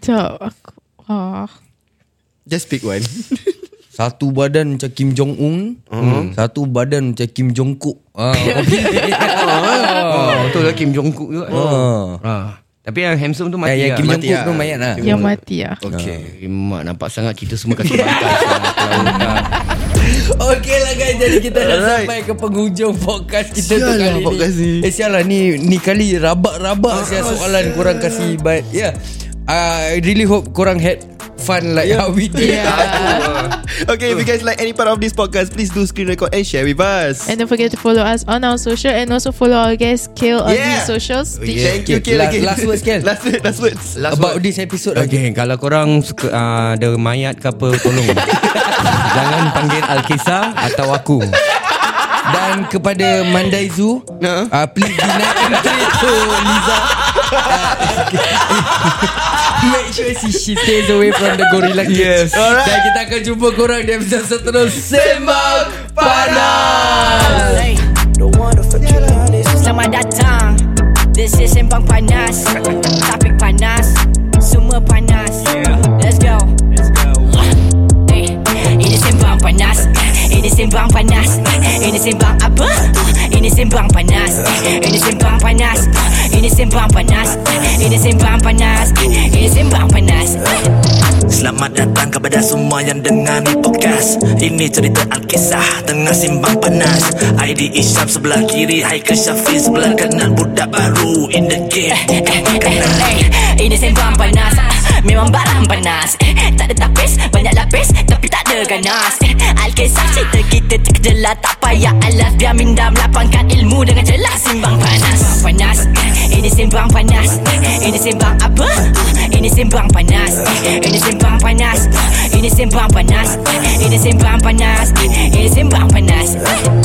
Sekejap aku ah.
Just pick one
Satu badan macam Kim Jong Un
Hmm.
Satu badan macam Kim Hmm. Jong Kook ha.
Oh, Betul Ah, lah Kim Jong Kook juga
Oh.
Ah. Tapi Tapi yang handsome tu
Yang,
mati
yang
lah.
Ya, Kim
Mati.
Jong-un
lah.
tu Ah. mayat lah
Yang mati lah
Okay Mak nampak sangat Kita semua kasih bantai
Okay lah guys Jadi kita dah
Alright.
sampai ke penghujung podcast kita
Sial
tu
lah
kali ni
podcast ni.
Eh sial lah ni Ni kali rabak-rabak Sial soalan korang kasih But yeah I really hope korang had fun Like how we did
Ya.
Okay, if you guys like any part of this podcast, please do screen record and share with us.
And don't forget to follow us on our social and also follow our guest Kale on his
Yeah.
socials.
Thank you,
Okay,
Kale.
last-
again.
last words, Kale.
last words, last words.
About this episode okay.
Okay Kalau korang suka
ah,
uh, Ada mayat ke apa Tolong Jangan panggil Alkisah Atau aku
Dan kepada Mandai Zoo
Nah.
uh, Please do not entry to Liza Uh, Make sure she, she stays away from the gorilla kids
Yes. Alright.
Dan kita akan jumpa korang di episode seterusnya Sembang Panas
Hey, Selamat datang This is Sembang Panas Topik panas Semua panas Let's go Hey, Ini Sembang Panas Ini Sembang Panas Ini Sembang apa? Ini Sembang Panas Ini Sembang Panas Ini Sembang Panas Ini Sembang Panas Ini Sembang Panas
Selamat datang kepada semua yang dengar ni podcast Ini cerita Alkisah tengah simbang panas ID Isyam sebelah kiri Haikal Syafiq sebelah kanan Budak baru in the game
Eh, eh, eh, eh, Ini sembang panas Ah, Memang barang panas Eh, Tak ada tapis Banyak lapis Tapi tak ada ganas Eh, Alkisah cerita kita terkejelah Tak payah alas Biar minda melapangkan ilmu Dengan jelas Simbang panas Sembang panas Eh, Ini sembang panas Eh, Ini sembang apa? Ah, Ini sembang panas Eh, Ini sembang panas Ah, Ini sembang panas Eh, Ini sembang panas Eh, Ini sembang panas Eh,